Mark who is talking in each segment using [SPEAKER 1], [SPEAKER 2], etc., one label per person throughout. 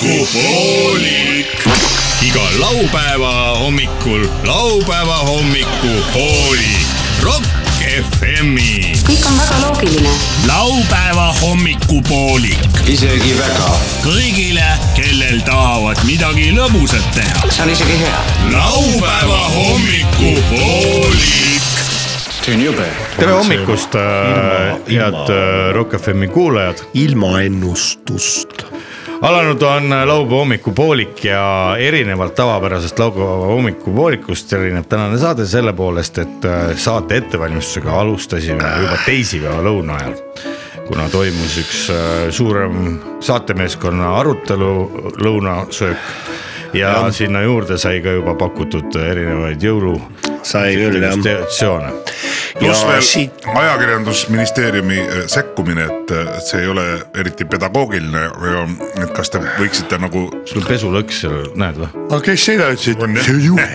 [SPEAKER 1] hommikupoolik . iga laupäeva hommikul laupäeva hommikupoolik . Rock FM-i .
[SPEAKER 2] kõik on väga loogiline .
[SPEAKER 1] laupäeva hommikupoolik
[SPEAKER 3] isegi väga .
[SPEAKER 1] kõigile , kellel tahavad midagi lõbusat teha .
[SPEAKER 3] see on isegi hea .
[SPEAKER 1] laupäeva hommikupoolik .
[SPEAKER 3] see on jube .
[SPEAKER 4] tere hommikust , head äh, Rock FM-i kuulajad .
[SPEAKER 5] ilma ennustust .
[SPEAKER 4] alanud on äh, laupäeva hommikupoolik ja erinevalt tavapärasest laupäeva hommikupoolikust erineb tänane saade selle poolest , et äh, saate ettevalmistusega alustasime juba teisipäeva lõuna ajal . kuna toimus üks äh, suurem saatemeeskonna arutelu , lõunasöök ja, ja sinna juurde sai ka juba pakutud erinevaid jõulu .
[SPEAKER 5] sai küll jah .
[SPEAKER 4] degustatsioone .
[SPEAKER 6] pluss
[SPEAKER 5] Ja
[SPEAKER 6] veel
[SPEAKER 5] siit-
[SPEAKER 6] ajakirjandusministeeriumi eh, sekkumine , et eh, et see ei ole eriti pedagoogiline , et kas te võiksite nagu ,
[SPEAKER 4] sul on pesulõks seal , näed või ?
[SPEAKER 5] aga kes seda ütles , et see on jube ,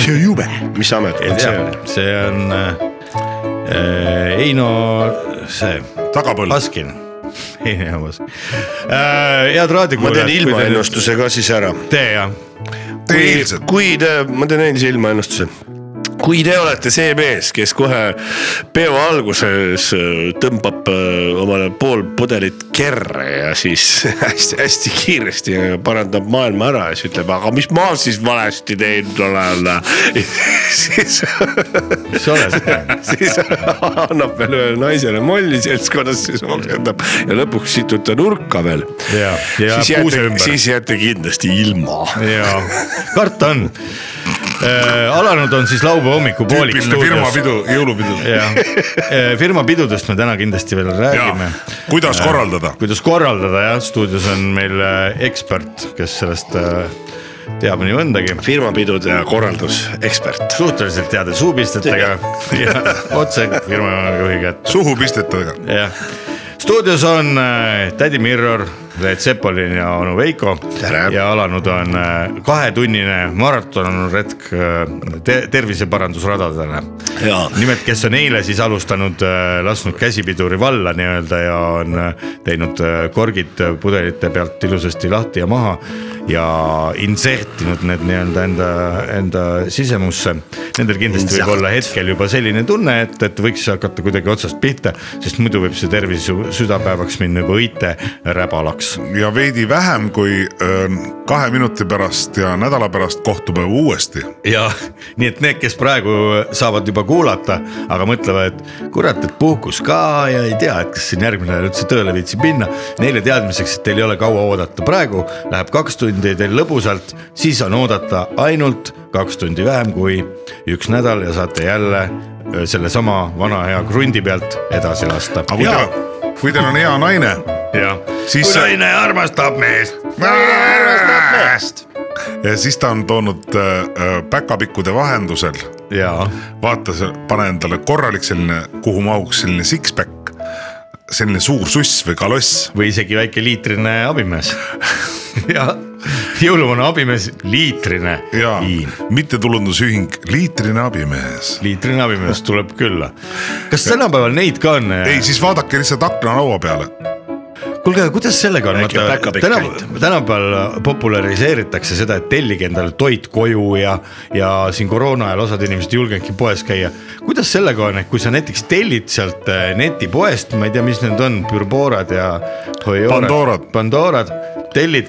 [SPEAKER 5] see on jube . mis amet
[SPEAKER 4] ei
[SPEAKER 5] on see
[SPEAKER 4] tea ?, see on äh, Heino see ,
[SPEAKER 6] tagapõld ,
[SPEAKER 4] Baskin , Heino Bas- äh, . head
[SPEAKER 5] ma
[SPEAKER 4] raadiokuulajad .
[SPEAKER 5] teen ilmaennustuse ka siis ära .
[SPEAKER 4] tee jah ,
[SPEAKER 5] kui
[SPEAKER 6] eilset ,,
[SPEAKER 5] kui te , ma teen eilse ilmaennustuse kui te olete see mees , kes kohe peo alguses äh, tõmbab äh, omale pool pudelit kerre ja siis hästi-hästi kiiresti äh, parandab maailma ära ja siis ütleb , aga mis ma siis valesti teinud olen . siis
[SPEAKER 4] mis sa oled teinud ?
[SPEAKER 5] siis annab veel ühele naisele molli seltskonnas , siis oksendab ja lõpuks situta nurka veel .
[SPEAKER 4] ja , ja
[SPEAKER 5] siis
[SPEAKER 4] puuse
[SPEAKER 5] jääte ,
[SPEAKER 4] ümber siis...
[SPEAKER 5] siis jääte kindlasti ilma .
[SPEAKER 4] ja karta on äh, . alanud on siis laupäeva hommikupoolik
[SPEAKER 6] tüüpiline
[SPEAKER 4] stuudios .
[SPEAKER 6] firmapidu , jõulupidu .
[SPEAKER 4] jah , firma pidudest me täna kindlasti veel räägime
[SPEAKER 6] kuidas korraldada ,
[SPEAKER 4] kuidas korraldada jah , stuudios on meil äh, ekspert , kes sellest äh, teab nii mõndagi .
[SPEAKER 5] firmapidude korraldusekspert .
[SPEAKER 4] suhteliselt heade suupistetega ja otse firma juhi kätte ,
[SPEAKER 6] suhu pistetega ,
[SPEAKER 4] jah . stuudios on äh, tädi Mirror , Leet Sepolin ja onu Veiko
[SPEAKER 5] Tere.
[SPEAKER 4] ja alanud on äh, kahetunnine maratonretk äh, te terviseparandusradadele .
[SPEAKER 5] jaa ,
[SPEAKER 4] nimelt , kes on eile siis alustanud , lasknud käsipiduri valla nii-öelda ja on äh, teinud äh, korgid äh, pudelite pealt ilusasti lahti ja maha ja insertinud need nii-öelda enda , enda sisemusse . Nendel kindlasti võib olla hetkel juba selline tunne , et , et võiks hakata kuidagi otsast pihta , sest muidu võib see tervis ju südapäevaks minna juba õite räbalaks .
[SPEAKER 6] ja veidi vähem kui öö, kahe minuti pärast ja nädala pärast kohtume uuesti .
[SPEAKER 4] ja nii , et need , kes praegu saavad juba kuulata , aga mõtlevad , et kurat , et puhkus ka ja ei tea , et kas siin järgmine nädal üldse tööle viitsib minna . Neile teadmiseks , et teil ei ole kaua oodata , praegu läheb kaks tundi teil lõbusalt , siis on oodata ainult kaks tundi vähem kui üks nädal ja saate jälle öö, sellesama vana hea krundi pealt edasi lasta .
[SPEAKER 6] aga kui teil , kui teil on hea naine ,
[SPEAKER 4] jah ,
[SPEAKER 6] siis
[SPEAKER 4] kui
[SPEAKER 6] see-
[SPEAKER 4] naine armastab meest .
[SPEAKER 6] siis ta on toonud öö, öö, päkapikkude vahendusel
[SPEAKER 4] ja
[SPEAKER 6] vaata , pane endale korralik selline , kuhu mahuks selline six-pack , selline suur suss või kaloss .
[SPEAKER 4] või isegi väike liitrine abimees . ja jõuluvana abimees , liitrine
[SPEAKER 6] ja
[SPEAKER 4] Iin .
[SPEAKER 6] mittetulundusühing Liitrine abimees .
[SPEAKER 4] liitrine abimees tuleb külla . kas tänapäeval neid ka on ?
[SPEAKER 6] ei , siis vaadake lihtsalt aknalaua peale .
[SPEAKER 4] kuulge , kuidas sellega on ,
[SPEAKER 5] Väike
[SPEAKER 4] vaata
[SPEAKER 5] päkapikk
[SPEAKER 4] tänapäeval ,
[SPEAKER 5] aitab.
[SPEAKER 4] tänapäeval populariseeritakse seda , et tellige endale toit koju ja , ja siin koroona ajal osad inimesed ei julgenudki poes käia . kuidas sellega on , et kui sa näiteks tellid sealt äh, netipoest , ma ei tea , mis need on , Burborad ja .
[SPEAKER 6] Pandorad.
[SPEAKER 4] Pandorad , tellid ,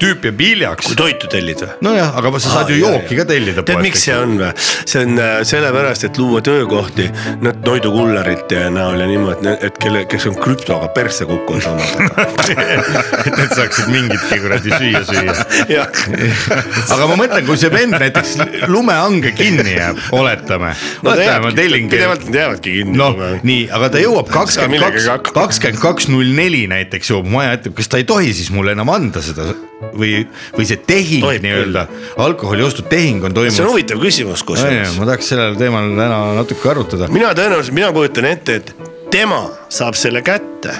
[SPEAKER 4] tüüp jääb hiljaks
[SPEAKER 5] kui . toitu tellid või ?
[SPEAKER 4] nojah , aga sa saad ju jooki ka tellida .
[SPEAKER 5] tead , miks see on või ? see on äh, sellepärast , et luua töökohti , noh , Noidu kullerite näol ja niimoodi , et kelle , kes on krüptoga persse kukkunud omadega .
[SPEAKER 4] et need saaksid mingitki kuradi süüa süüa . aga ma mõtlen , kui see vend näiteks lumehange kinni jääb , oletame . oletame , ma tellin
[SPEAKER 5] pidevalt nad jäävadki kinni .
[SPEAKER 4] noh , nii , aga ta jõuab kakskümmend
[SPEAKER 5] millegagi
[SPEAKER 4] kaks ,
[SPEAKER 5] hakkama.
[SPEAKER 4] kakskümmend kaks null neli näiteks jõuab maja ette , kas ta ei tohi siis mulle enam anda seda või , või see tehing
[SPEAKER 5] Tohib küll.
[SPEAKER 4] nii-öelda , alkoholiostu tehing on
[SPEAKER 5] see on
[SPEAKER 4] toimunud .
[SPEAKER 5] huvitav küsimus kusjuures .
[SPEAKER 4] ma tahaks sellel teemal täna natuke arutada .
[SPEAKER 5] mina tõenäoliselt , mina kujutan ette , et tema saab selle kätte ,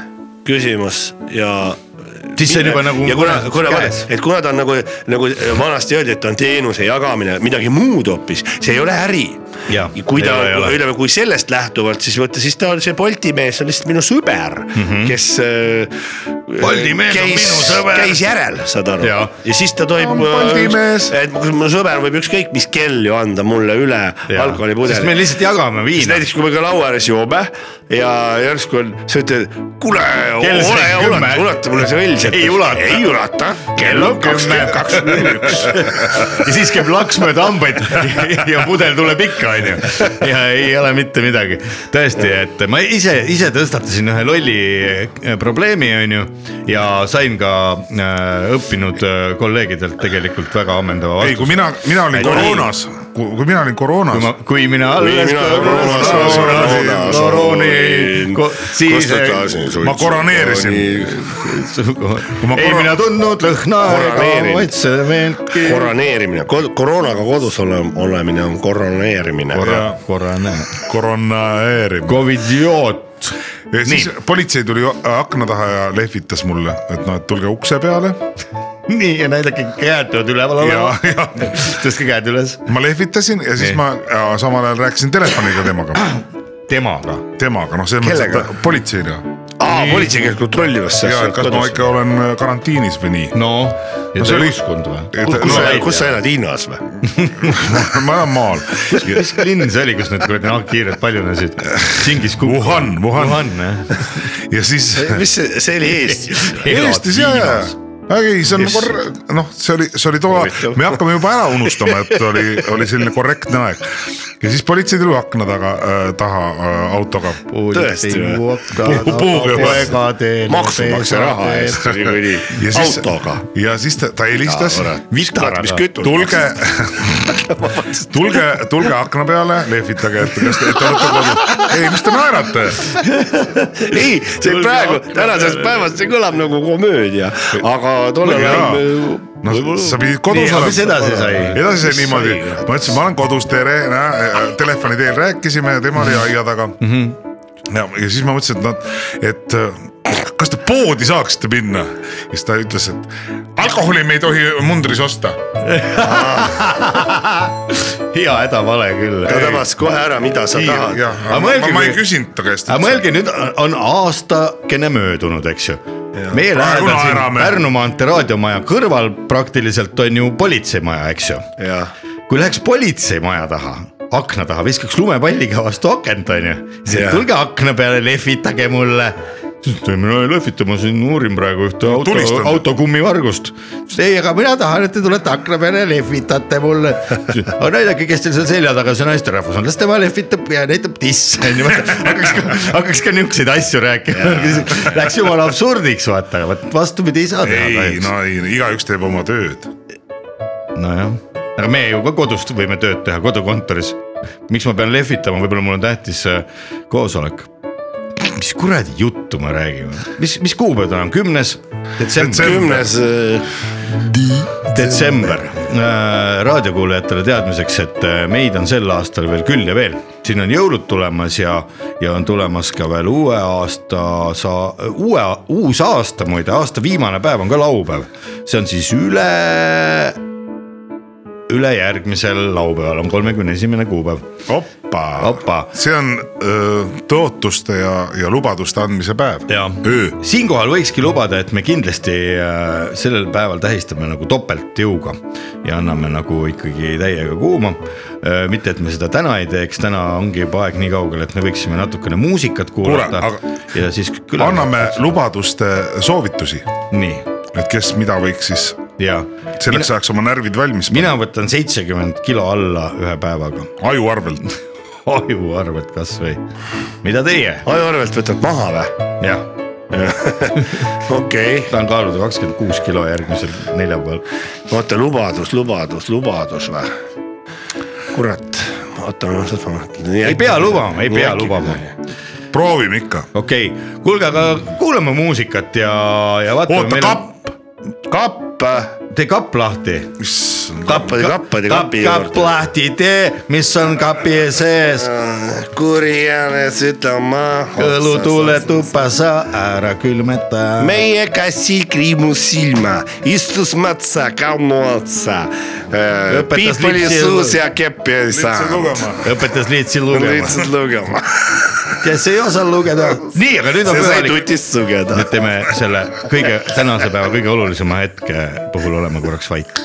[SPEAKER 5] küsimus ja .
[SPEAKER 4] Siis see on juba nagu
[SPEAKER 5] ja kuna ,
[SPEAKER 4] mõnes
[SPEAKER 5] kuna
[SPEAKER 4] käes. ,
[SPEAKER 5] et kuna ta on nagu , nagu vanasti öeldi , et ta on teenuse jagamine , midagi muud hoopis , see ei ole äri .
[SPEAKER 4] Jaa,
[SPEAKER 5] kui ta
[SPEAKER 4] ei ole, ei , ole.
[SPEAKER 5] ütleme , kui sellest lähtuvalt , siis vaata , siis ta on see Bolti mees on lihtsalt minu sõber mm , -hmm. kes äh, .
[SPEAKER 4] Bolti mees Mhm. on minu sõber.
[SPEAKER 5] käis järel , saad aru ,
[SPEAKER 4] Jaa.
[SPEAKER 5] ja siis ta tohib .
[SPEAKER 6] Bolti mees.
[SPEAKER 5] et mu- mu sõber võib ükskõik mis kell ju anda mulle üle
[SPEAKER 4] sest me
[SPEAKER 5] alkoholipudeli .
[SPEAKER 4] lihtsalt jagame
[SPEAKER 5] siis
[SPEAKER 4] viina .
[SPEAKER 5] näiteks , kui me ka laua ääres joome ja järsku on , sa ütled , kuule ,
[SPEAKER 4] Kell
[SPEAKER 5] ole
[SPEAKER 4] sai
[SPEAKER 5] hea ,
[SPEAKER 4] kümme.
[SPEAKER 5] ulata , ulata mulle see õlg .
[SPEAKER 4] Ei ulata.
[SPEAKER 5] ei ulata , kell on kakskümmend kaks null üks .
[SPEAKER 4] ja siis käib laks mööda hambaid ja pudel tuleb ikka , onju . ja ei ole mitte midagi . tõesti , et ma ise , ise tõstatasin ühe lolli eh, probleemi , onju . ja sain ka äh, õppinud äh, kolleegidelt tegelikult väga ammendava
[SPEAKER 6] ei , kui
[SPEAKER 4] vastuse .
[SPEAKER 6] mina , mina olin koroonas , kui mina olin koroonas
[SPEAKER 4] kui ma , kui mina alles
[SPEAKER 5] mina koroonas
[SPEAKER 6] koroonas
[SPEAKER 4] korooni , siis eh,
[SPEAKER 6] ma koroneerisin. .
[SPEAKER 4] kui ma
[SPEAKER 6] ma
[SPEAKER 4] ei
[SPEAKER 6] korra-
[SPEAKER 4] mina tundnud lõhna ega
[SPEAKER 5] Koroneerin.
[SPEAKER 4] maitse meeltki .
[SPEAKER 5] koroneerimine , koroonaga kodus ole, olemine on koroneerimine .
[SPEAKER 4] korra , korra näe .
[SPEAKER 6] koroneerima .
[SPEAKER 4] Covidioot .
[SPEAKER 6] ja siis Nii. politsei tuli äh, akna taha ja lehvitas mulle , et noh , et tulge ukse peale .
[SPEAKER 4] nii ja näidake käed peavad üleval olema
[SPEAKER 6] Ja, ja. .
[SPEAKER 4] tõstke käed üles .
[SPEAKER 6] ma lehvitasin ja siis
[SPEAKER 4] Nii.
[SPEAKER 6] Nii. ma ja samal ajal rääkisin telefoniga temaga ,
[SPEAKER 4] temaga .
[SPEAKER 6] temaga , noh , selles mõttes ,
[SPEAKER 5] Kellega?
[SPEAKER 6] et politseiga .
[SPEAKER 5] aa , politsei käis kontrollimas
[SPEAKER 6] ja et kas ma ikka olen äh, karantiinis või nii .
[SPEAKER 4] no , ja
[SPEAKER 6] No
[SPEAKER 4] ta
[SPEAKER 6] see oli-
[SPEAKER 4] uskunud või
[SPEAKER 6] et- ?
[SPEAKER 5] kus
[SPEAKER 6] No,
[SPEAKER 5] sa
[SPEAKER 6] ei ,
[SPEAKER 5] kus sa elad , Hiinas või ?
[SPEAKER 6] ma elan maal .
[SPEAKER 4] mis linn see oli , kus need kuradi nahkhiired paljunesid ? Tšingis kukk .
[SPEAKER 6] Wuhan, Wuhan.
[SPEAKER 4] Wuhan jah .
[SPEAKER 6] ja siis
[SPEAKER 5] mis see , see oli Eestis või ?
[SPEAKER 6] Eestis ja , ja . ei , see on
[SPEAKER 5] Yes.
[SPEAKER 6] korra- , noh , see oli , see oli tollal
[SPEAKER 5] Huvitav. ,
[SPEAKER 6] me hakkame juba ära unustama , et oli , oli selline korrektne aeg . ja siis politsei tuli akna taga äh, , taha äh, autoga .
[SPEAKER 5] Tõesti või? maksumaksja
[SPEAKER 4] maksumaksja
[SPEAKER 5] raha eest niikuinii
[SPEAKER 6] Ja , siis-
[SPEAKER 5] autoga .
[SPEAKER 6] ja siis ta, ta helistas ,
[SPEAKER 5] tead , mis kütus .
[SPEAKER 6] tulge , tulge , tulge akna peale , lehvitage , et kas te, et te olete kodus . ei , mis te naerate ?
[SPEAKER 5] ei , see
[SPEAKER 4] Tulge
[SPEAKER 5] praegu
[SPEAKER 4] akna ,
[SPEAKER 5] tänases
[SPEAKER 4] peale.
[SPEAKER 5] päevas see kõlab nagu komöödia , aga tollel
[SPEAKER 6] Jaa.
[SPEAKER 5] ajal .
[SPEAKER 6] no sa pidid kodus
[SPEAKER 4] Nii, aga mis edasi sai?
[SPEAKER 6] edasi sai
[SPEAKER 5] Mis
[SPEAKER 6] niimoodi
[SPEAKER 5] sai? ,
[SPEAKER 6] ma ütlesin , ma olen kodus , tere , telefoni teel rääkisime ja tema oli aia taga mm .
[SPEAKER 4] Mhm.
[SPEAKER 6] -hmm. ja , ja siis ma mõtlesin , et nad , et äh, kas te poodi saaksite minna ja siis ta ütles , et alkoholi me ei tohi mundris osta .
[SPEAKER 4] hea hädavale küll .
[SPEAKER 5] ta tabas kohe ära , mida sa tahad .
[SPEAKER 4] Aga
[SPEAKER 6] aga ma,
[SPEAKER 4] mõelge,
[SPEAKER 6] ma ei
[SPEAKER 4] kui-
[SPEAKER 6] küsinud ta käest .
[SPEAKER 4] aga mõelge nüüd on aastakene möödunud , eks ju . meie
[SPEAKER 6] Praegu
[SPEAKER 4] lähedal siin
[SPEAKER 6] naerame.
[SPEAKER 4] Pärnu maantee raadiomaja kõrval praktiliselt on ju politseimaja , eks ju .
[SPEAKER 5] jah ,
[SPEAKER 4] kui läheks politseimaja taha , akna taha , viskaks lumepalliga vastu akent , onju .
[SPEAKER 5] Jah.
[SPEAKER 4] tulge akna peale , lehvitage mulle . mina ei lehvita , ma siin uurin praegu ühte auto
[SPEAKER 6] tulistan. ,
[SPEAKER 4] auto kummivargust . ei , aga mina tahan , et te tulete akna peale ja lehvitate mulle . aga näidake , kes teil seal selja taga see naisterahvas on , las tema lehvitab ja näitab tisse , onju . hakkaks ka , hakkaks ka niukseid asju rääkima . Läks jumala absurdiks , vaata , vot vastupidi ei saa teha
[SPEAKER 6] ei , no ei , igaüks teeb oma tööd .
[SPEAKER 4] nojah , aga me ju ka kodust võime tööd teha kodukontoris . miks ma pean lehvitama , võib-olla mul on tähtis äh, koosolek . mis kuradi juttu me räägime , mis , mis kuupäev täna on , kümnes detsember ,
[SPEAKER 5] kümnes äh,
[SPEAKER 4] detsember . raadiokuulajatele teadmiseks , et äh, meid on sel aastal veel küll ja veel , siin on jõulud tulemas ja , ja on tulemas ka veel uue aasta sa- , uue , uus aasta muide , aasta viimane päev on ka laupäev , see on siis üle ülejärgmisel laupäeval on kolmekümne esimene kuupäev .
[SPEAKER 6] opa
[SPEAKER 4] Opa.
[SPEAKER 6] see on öö, tõotuste ja , ja lubaduste andmise päev .
[SPEAKER 4] Jaa.
[SPEAKER 6] öö ,
[SPEAKER 4] siinkohal võikski lubada , et me kindlasti äh, sellel päeval tähistame nagu topeltjõuga ja anname nagu ikkagi täiega kuuma . mitte , et me seda täna ei teeks , täna ongi juba aeg nii kaugel , et me võiksime natukene muusikat kuulata
[SPEAKER 6] aga-
[SPEAKER 4] ja siis küll .
[SPEAKER 6] anname lubaduste soovitusi ,
[SPEAKER 4] nii
[SPEAKER 6] et kes mida võiks siis
[SPEAKER 4] ja
[SPEAKER 6] selleks ajaks oma närvid valmis
[SPEAKER 4] mina võtan seitsekümmend kilo alla ühe päevaga ,
[SPEAKER 6] panna , aju arvelt .
[SPEAKER 4] aju arvelt kasvõi , mida teie ,
[SPEAKER 5] aju arvelt võtad maha või ?
[SPEAKER 4] jah
[SPEAKER 5] okei okay. ,
[SPEAKER 4] tahan kaaluda kakskümmend kuus kilo järgmisel neljapäeval .
[SPEAKER 5] oota lubadus , lubadus , lubadus või ? kurat , oota ma lihtsalt mõtlen .
[SPEAKER 4] ei pea lubama , ei pea lubama .
[SPEAKER 6] proovime ikka ,
[SPEAKER 4] okei okay. , kuulge , aga kuulame muusikat ja , ja vaatame .
[SPEAKER 6] oota kapp ,
[SPEAKER 5] kapp ,
[SPEAKER 4] tee kapp lahti .
[SPEAKER 6] issand ,
[SPEAKER 5] kappade , kappade ,
[SPEAKER 4] kapp ,
[SPEAKER 5] kapi
[SPEAKER 4] kapp
[SPEAKER 5] juurde .
[SPEAKER 4] lahti tee , mis on kapi sees .
[SPEAKER 5] kurjane Äh, südama .
[SPEAKER 4] õlutule . tuppa sa ära külmeta .
[SPEAKER 5] e meie kassi kriimus silma , istus matsa kaunu otsa ,
[SPEAKER 4] Õpetas
[SPEAKER 5] piip oli
[SPEAKER 4] litsi-
[SPEAKER 5] suus E, ja kepp ei
[SPEAKER 6] lihtsalt
[SPEAKER 5] saanud .
[SPEAKER 6] lugema .
[SPEAKER 4] õpetas Liitsi lugema ,
[SPEAKER 5] lihtsalt lugema .
[SPEAKER 4] kes ei osanud lugeda . nii , aga nüüd on
[SPEAKER 5] see sai
[SPEAKER 4] võimalik .
[SPEAKER 5] tutist lugeda
[SPEAKER 4] nüüd . teeme selle kõige tänase päeva kõige olulisema hetke puhul olema korraks vait .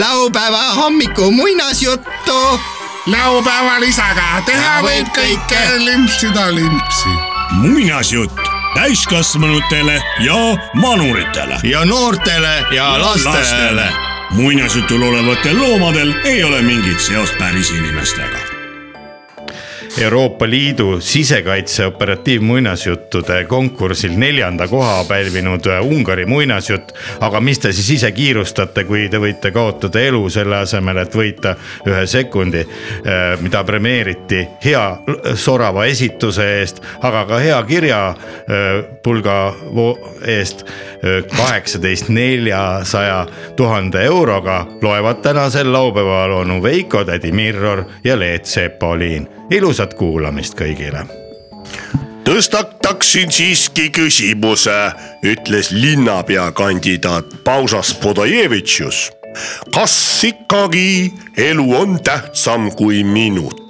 [SPEAKER 3] laupäeva hommiku muinasjuttu .
[SPEAKER 6] laupäeval isaga teha
[SPEAKER 3] võib kõike.
[SPEAKER 6] Äh, limpsida limpsi .
[SPEAKER 1] muinasjutt täiskasvanutele ja vanuritele .
[SPEAKER 4] ja noortele ja lastele .
[SPEAKER 1] muinasjutul olevatel loomadel ei ole mingit seost päris inimestega .
[SPEAKER 4] Euroopa Liidu sisekaitse operatiivmuinasjuttude konkursil neljanda koha pälvinud äh, Ungari muinasjutt . aga mis te siis ise kiirustate , kui te võite kaotada elu selle asemel , et võita ühe sekundi , mida premeeriti hea äh, l- sorava esituse eest , aga ka hea kirja öö, pulga vo- eest kaheksateist neljasaja tuhande euroga loevad tänasel laupäeval onu Veiko , tädi Mirror ja Leet Sepoliin . ilusat kuulamist kõigile .
[SPEAKER 5] tõstataksin siiski küsimuse , ütles linnapeakandidaat Pausas Podojevitšus . kas ikkagi elu on tähtsam kui minut ?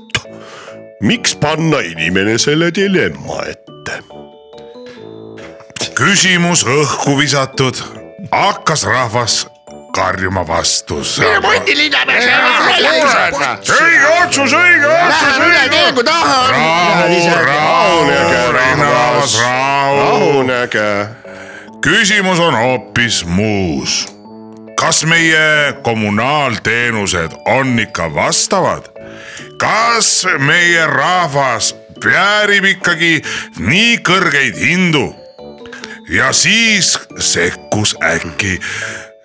[SPEAKER 5] miks panna inimene selle dilemma ette ?
[SPEAKER 6] küsimus õhku visatud , hakkas rahvas karjuma vastu . õige otsus , õige otsus , õige otsus . rahu ,
[SPEAKER 5] rahunege
[SPEAKER 6] rahu , rahvas ,
[SPEAKER 5] rahvas ,
[SPEAKER 6] rahu .
[SPEAKER 5] rahunege .
[SPEAKER 6] küsimus on hoopis muus . kas meie kommunaalteenused on ikka vastavad ? kas meie rahvas väärib ikkagi nii kõrgeid hindu ? ja siis sekkus äkki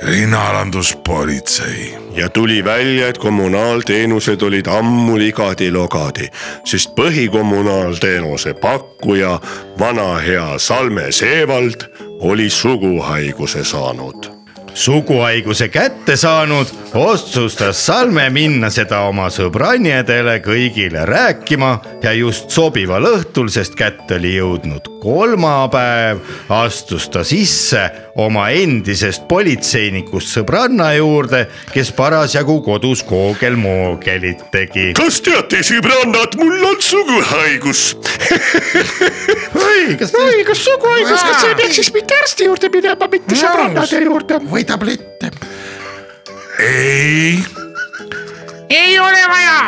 [SPEAKER 6] linnalanduspolitsei .
[SPEAKER 5] ja tuli välja , et kommunaalteenused olid ammu ligadi-logadi , sest põhikommunaalteenuse pakkuja , vana hea Salme Seevald oli suguhaiguse saanud .
[SPEAKER 4] suguhaiguse kätte saanud , otsustas Salme minna seda oma sõbrannadele kõigile rääkima ja just sobival õhtul , sest kätte oli jõudnud kolmapäev , astus ta sisse oma endisest politseinikust sõbranna juurde , kes parasjagu kodus koogelmoogelit tegi .
[SPEAKER 5] kas teate , sõbrannad , mul on suguhaigus .
[SPEAKER 4] kas te
[SPEAKER 7] kas suguhaigus , kas sa ei peaks siis mitte arsti juurde minema , mitte sõbrannade juurde ?
[SPEAKER 3] või tablette .
[SPEAKER 6] ei ,
[SPEAKER 7] ei ole vaja ,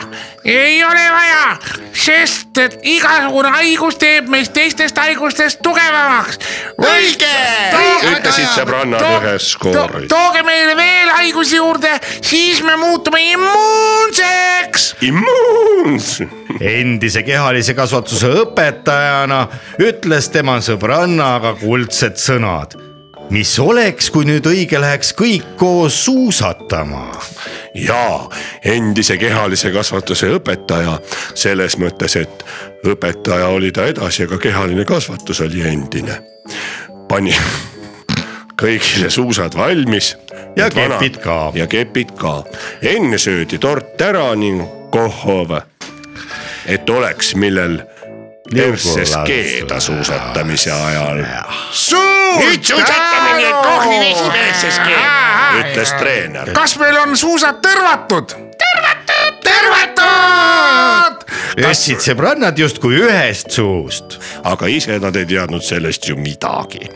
[SPEAKER 7] ei ole vaja , sest et igasugune haigus teeb meist teistest haigustest tugevamaks .
[SPEAKER 3] õige .
[SPEAKER 5] ütlesid sõbrannad ühes kooris .
[SPEAKER 7] tooge meile veel haigusi juurde , siis me muutume immuunseks .
[SPEAKER 5] immuuns .
[SPEAKER 4] endise kehalise kasvatuse õpetajana ütles tema sõbrannaga kuldsed sõnad . mis oleks , kui nüüd õige läheks kõik koos suusatama ?
[SPEAKER 5] ja endise kehalise kasvatuse õpetaja selles mõttes , et õpetaja oli ta edasi , aga kehaline kasvatus oli endine . pani kõigile suusad valmis .
[SPEAKER 4] Ja kepid ka.
[SPEAKER 5] ja kepid ka , enne söödi tort ära ning kohhov , et oleks , millel persses
[SPEAKER 4] lasta.
[SPEAKER 5] keeda suusatamise ajal ,
[SPEAKER 7] nüüd suusatamine kohvi vesi meelsas keeles .
[SPEAKER 5] ütles treener .
[SPEAKER 7] kas meil on suusad tõrvatud ? tõrvatud . tõrvatud .
[SPEAKER 4] jõstsid sõbrannad justkui ühest suust .
[SPEAKER 5] aga ise nad ei teadnud sellest ju midagi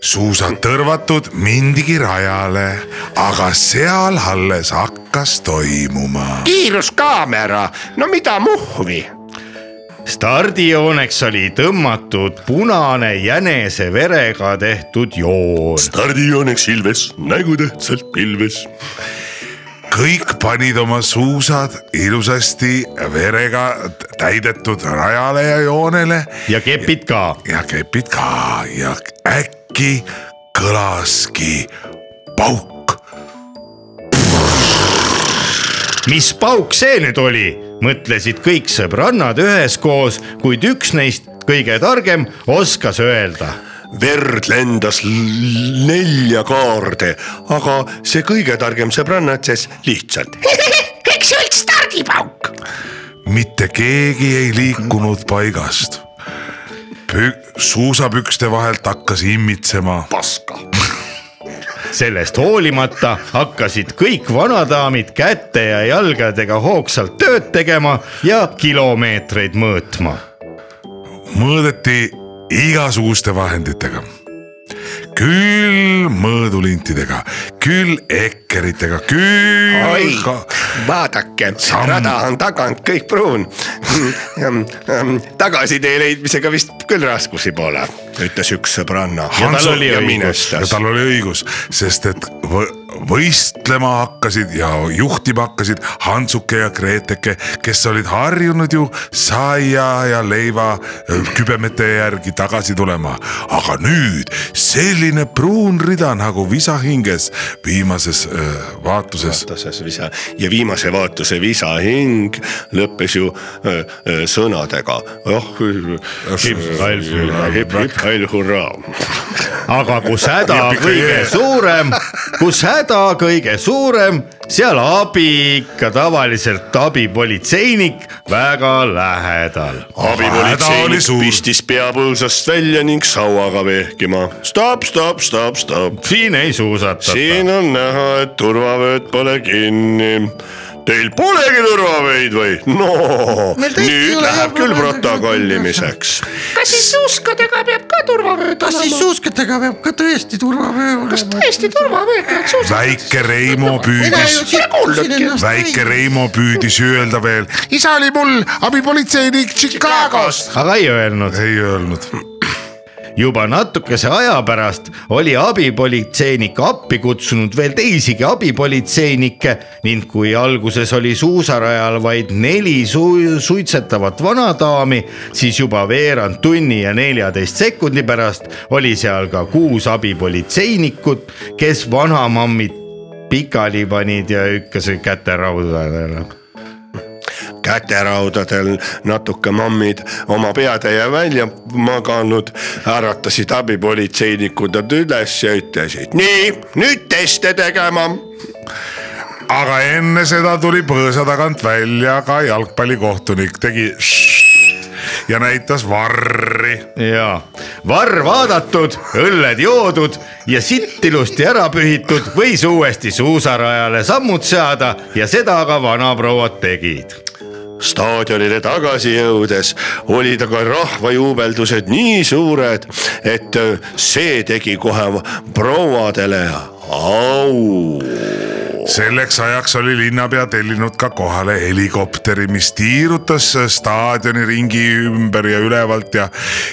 [SPEAKER 6] suusad tõrvatud , mindigi rajale , aga seal alles hakkas toimuma .
[SPEAKER 5] kiiruskaamera , no mida muhvi .
[SPEAKER 4] stardijooneks oli tõmmatud punane jänese verega tehtud joon .
[SPEAKER 5] tardijooneks ilves , nägu tähtsalt pilves .
[SPEAKER 6] kõik panid oma suusad ilusasti verega t- täidetud rajale ja joonele
[SPEAKER 4] ja kepid ka .
[SPEAKER 6] ja kepid ka ja äkki kõlaski pauk .
[SPEAKER 4] mis pauk see nüüd oli , mõtlesid kõik sõbrannad üheskoos , kuid üks neist , kõige targem , oskas öelda
[SPEAKER 5] verd lendas l- nelja kaarde , aga see kõige targem sõbranna ütles lihtsalt .
[SPEAKER 7] eks see oli stardipauk .
[SPEAKER 6] mitte keegi ei liikunud paigast . suusapükste vahelt hakkas imitsema
[SPEAKER 5] paska .
[SPEAKER 4] sellest hoolimata hakkasid kõik vanadaamid käte ja jalgadega hoogsalt tööd tegema ja kilomeetreid mõõtma .
[SPEAKER 6] mõõdeti igasuguste vahenditega . küll mõõdulintidega , küll ekkeritega ,
[SPEAKER 5] oi
[SPEAKER 6] küll ka... ,
[SPEAKER 5] vaadake ,
[SPEAKER 6] Samm.
[SPEAKER 5] rada on tagant kõik pruun . Mm, tagasitee leidmisega vist küll raskusi pole , ütles üks sõbranna .
[SPEAKER 4] Ja tal oli õigus.
[SPEAKER 6] ja tal oli õigus , sest et võ- võistlema hakkasid ja juhtima hakkasid Hansuke ja Greteke , kes olid harjunud ju saia ja leiva öö, kübemete järgi tagasi tulema . aga nüüd selline pruun rida nagu visa hinges viimases öö, vaatuses .
[SPEAKER 5] tasas visa ja viimase vaatuse visa hing lõppes ju öö, öö, sõnadega . oh ,
[SPEAKER 4] hall hurraa.
[SPEAKER 5] hip-hip-hall hurraa .
[SPEAKER 4] aga kus häda
[SPEAKER 6] Ja pikk-
[SPEAKER 4] kõige suurem , kus häda kõige suurem , seal abi ikka tavaliselt abipolitseinik väga lähedal .
[SPEAKER 6] Ah, Häda oli
[SPEAKER 5] abipolitseinik
[SPEAKER 6] suur.
[SPEAKER 5] pistis pea põõsast välja ning sauaga vehkima . stopp , stopp , stopp , stopp .
[SPEAKER 4] siin ei suusatata .
[SPEAKER 5] siin on näha , et turvavööd pole kinni . Teil polegi turvavöid või ? no nüüd läheb küll protokollimiseks .
[SPEAKER 7] kas siis suuskadega peab ka turvavööd
[SPEAKER 8] kas siis
[SPEAKER 7] olema ?
[SPEAKER 8] suuskadega peab ka tõesti turvavöö
[SPEAKER 7] kas
[SPEAKER 8] olema ?
[SPEAKER 7] tõesti turvavööd peaks suuskadega ?
[SPEAKER 6] väike Reimo püüdis väike Reimo püüdis öelda veel ,
[SPEAKER 9] isa oli mul abipolitseinik Chicagos .
[SPEAKER 4] aga ei öelnud .
[SPEAKER 6] ei öelnud .
[SPEAKER 4] juba natukese aja pärast oli abipolitseinik appi kutsunud veel teisigi abipolitseinikke ning kui alguses oli suusarajal vaid neli su suitsetavat vanadaami , siis juba veerand tunni ja neljateist sekundi pärast oli seal ka kuus abipolitseinikut , kes vanamammid pikali panid ja hükkasid käte raudadele .
[SPEAKER 5] käteraudadel natuke mammid oma peatäie välja maganud , äratasid abipolitseinikud nad üles ja ütlesid nii , nüüd teste tegema .
[SPEAKER 6] aga enne seda tuli põõsa tagant välja ka jalgpallikohtunik , tegi ja näitas varri .
[SPEAKER 4] jaa , varr vaadatud , õlled joodud ja sitt ilusti ära pühitud , võis uuesti suusarajale sammud seada ja seda ka vanaprouad tegid .
[SPEAKER 5] staadionile tagasi jõudes olid aga rahvajuubeldused nii suured , et see tegi kohe prouadele au .
[SPEAKER 6] selleks ajaks oli linnapea tellinud ka kohale helikopteri , mis tiirutas staadioni ringi ümber ja ülevalt ja ,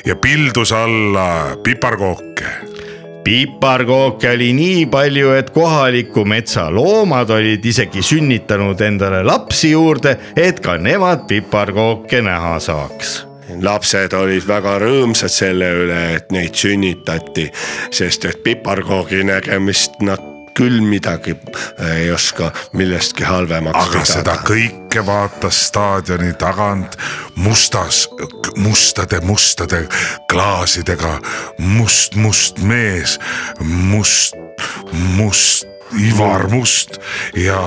[SPEAKER 6] ja pildus alla piparkooke .
[SPEAKER 4] piparkooke oli nii palju , et kohaliku metsa loomad olid isegi sünnitanud endale lapsi juurde , et ka nemad piparkooke näha saaks
[SPEAKER 5] lapsed olid väga rõõmsad selle üle , et neid sünnitati , sest et piparkoogi nägemist nad küll midagi äh, ei oska millestki halvemaks
[SPEAKER 6] aga seda kõike vaatas staadioni tagant mustas , mustade , mustade klaasidega must , must mees , must , must Ivar Must ja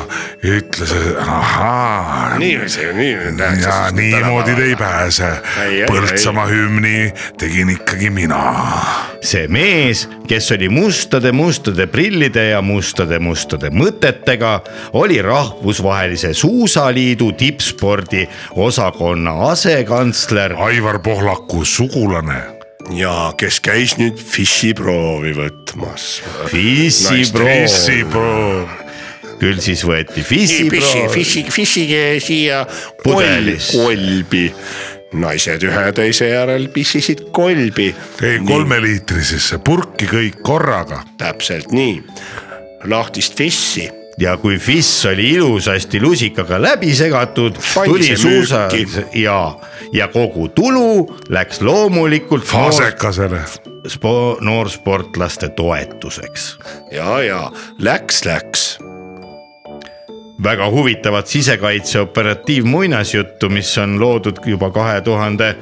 [SPEAKER 6] ütles , ahaa ,
[SPEAKER 5] niiviisi , niiviisi .
[SPEAKER 6] ja niimoodi te ei . pääse
[SPEAKER 5] Ei, ei, .
[SPEAKER 6] Põltsamaa hümni tegin ikkagi mina .
[SPEAKER 4] see mees , kes oli mustade mustade prillide ja mustade mustade mõtetega , oli rahvusvahelise suusaliidu tippspordi osakonna asekantsler
[SPEAKER 6] Aivar Pohlaku sugulane .
[SPEAKER 5] ja kes käis nüüd Fishi proovi võtmas .
[SPEAKER 4] Fissi
[SPEAKER 5] Nice
[SPEAKER 4] Pro ,
[SPEAKER 6] issiproov .
[SPEAKER 4] küll siis võeti Fissi Pro ,
[SPEAKER 5] Fishi , Fishi siia
[SPEAKER 4] Pudelis.
[SPEAKER 5] kol- kolbi , naised ühe teise järel pissisid kolbi
[SPEAKER 6] ei , kolmeliitrisesse purki kõik korraga .
[SPEAKER 5] täpselt nii , lahtist fissi ,
[SPEAKER 4] ja kui Fiss oli ilusasti lusikaga läbi segatud ,
[SPEAKER 5] Pandi
[SPEAKER 4] tuli
[SPEAKER 5] see
[SPEAKER 4] suusa
[SPEAKER 5] müüki.
[SPEAKER 4] ja , ja kogu tulu läks loomulikult noor,
[SPEAKER 6] asekasele .
[SPEAKER 4] spo, noorsportlaste toetuseks
[SPEAKER 5] ja , ja läks , läks .
[SPEAKER 4] väga huvitavat sisekaitse operatiivmuinasjuttu , mis on loodud juba kahe tuhande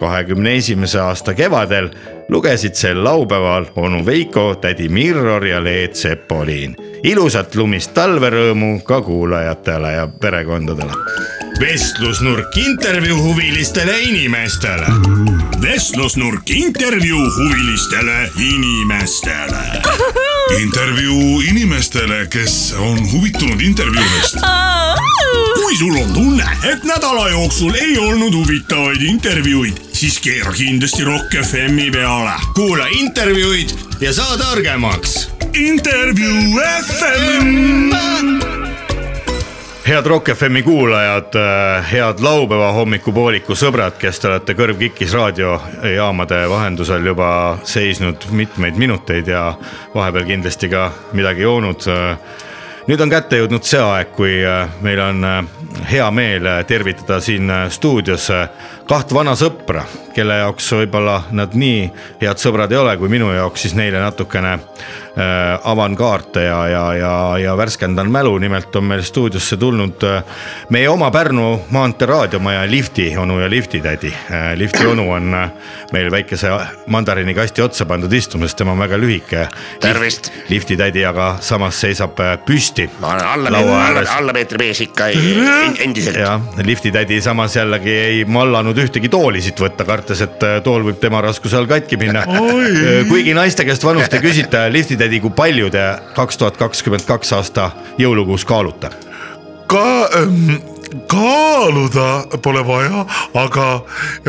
[SPEAKER 4] kahekümne esimese aasta kevadel , lugesid sel laupäeval onu Veiko , tädi Mirror ja Leet Sepoliin . ilusat lumist talverõõmu ka kuulajatele ja perekondadele .
[SPEAKER 1] vestlusnurk intervjuu huvilistele inimestele . vestlusnurk intervjuu huvilistele inimestele .
[SPEAKER 6] intervjuu inimestele , kes on huvitunud intervjuudest .
[SPEAKER 1] kui sul on tunne , et nädala jooksul ei olnud huvitavaid intervjuuid , siis keera kindlasti Rock FM-i peale .
[SPEAKER 4] kuula intervjuud ja saa targemaks
[SPEAKER 1] intervjuu FM .
[SPEAKER 4] head Rock FM-i kuulajad , head laupäeva hommikupooliku sõbrad , kes te olete kõrvkikis raadiojaamade vahendusel juba seisnud mitmeid minuteid ja vahepeal kindlasti ka midagi joonud . nüüd on kätte jõudnud see aeg , kui äh, meil on hea meel äh, tervitada siin äh, stuudios kaht vana sõpra , kelle jaoks võib-olla nad nii head sõbrad ei ole , kui minu jaoks , siis neile natukene äh, avan kaarte ja , ja , ja , ja värskendan mälu , nimelt on meil stuudiosse tulnud äh, meie oma Pärnu maantee raadiomaja lifti onu ja lifti tädi . lifti onu on äh, meil väikese mandariinikasti otsa pandud istuma , sest tema on väga lühike .
[SPEAKER 5] Tervist.
[SPEAKER 4] lifti tädi aga samas seisab äh, püsti .
[SPEAKER 5] ma olen alla , alla , alla meetri mees ikka en- endiselt .
[SPEAKER 4] jah , lifti tädi samas jällegi ei mallanud ühtegi tooli siit võtta , kartes , et äh, tool võib tema raskuse all katki minna . kuigi naiste käest vanust ei küsita , lifti tädi , kui palju te kaks tuhat kakskümmend kaks aasta jõulukuus kaalute ?
[SPEAKER 6] ka ähm, kaaluda pole vaja , aga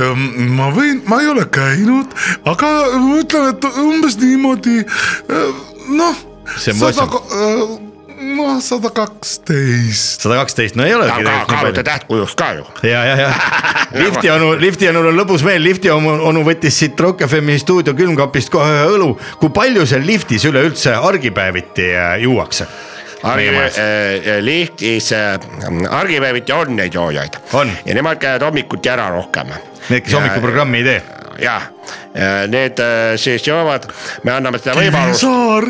[SPEAKER 6] ähm, ma võin , ma ei ole käinud , aga ma ütlen , et umbes niimoodi äh, noh .
[SPEAKER 4] See on
[SPEAKER 6] äh, noh , sada kaksteist .
[SPEAKER 4] sada kaksteist , no ei olegi
[SPEAKER 5] aga
[SPEAKER 4] tegelikult nii
[SPEAKER 5] kaaluta
[SPEAKER 4] palju .
[SPEAKER 5] tähtkujust ka ju .
[SPEAKER 4] ja , ja , ja lifti onu , lifti onul on lõbus meel , lifti onu, onu võttis siit Rock FM-i stuudio külmkapist kohe ühe õlu . kui palju seal liftis üleüldse argipäeviti äh, juuakse ?
[SPEAKER 5] äh, Lihtis äh, argipäeviti on neid joojaid
[SPEAKER 4] On. .
[SPEAKER 5] ja nemad käivad hommikuti ära rohkem .
[SPEAKER 4] Need , kes hommikuprogrammi ei tee
[SPEAKER 5] jah , need äh, siis joovad , me anname seda võimalust ,
[SPEAKER 6] Saar ,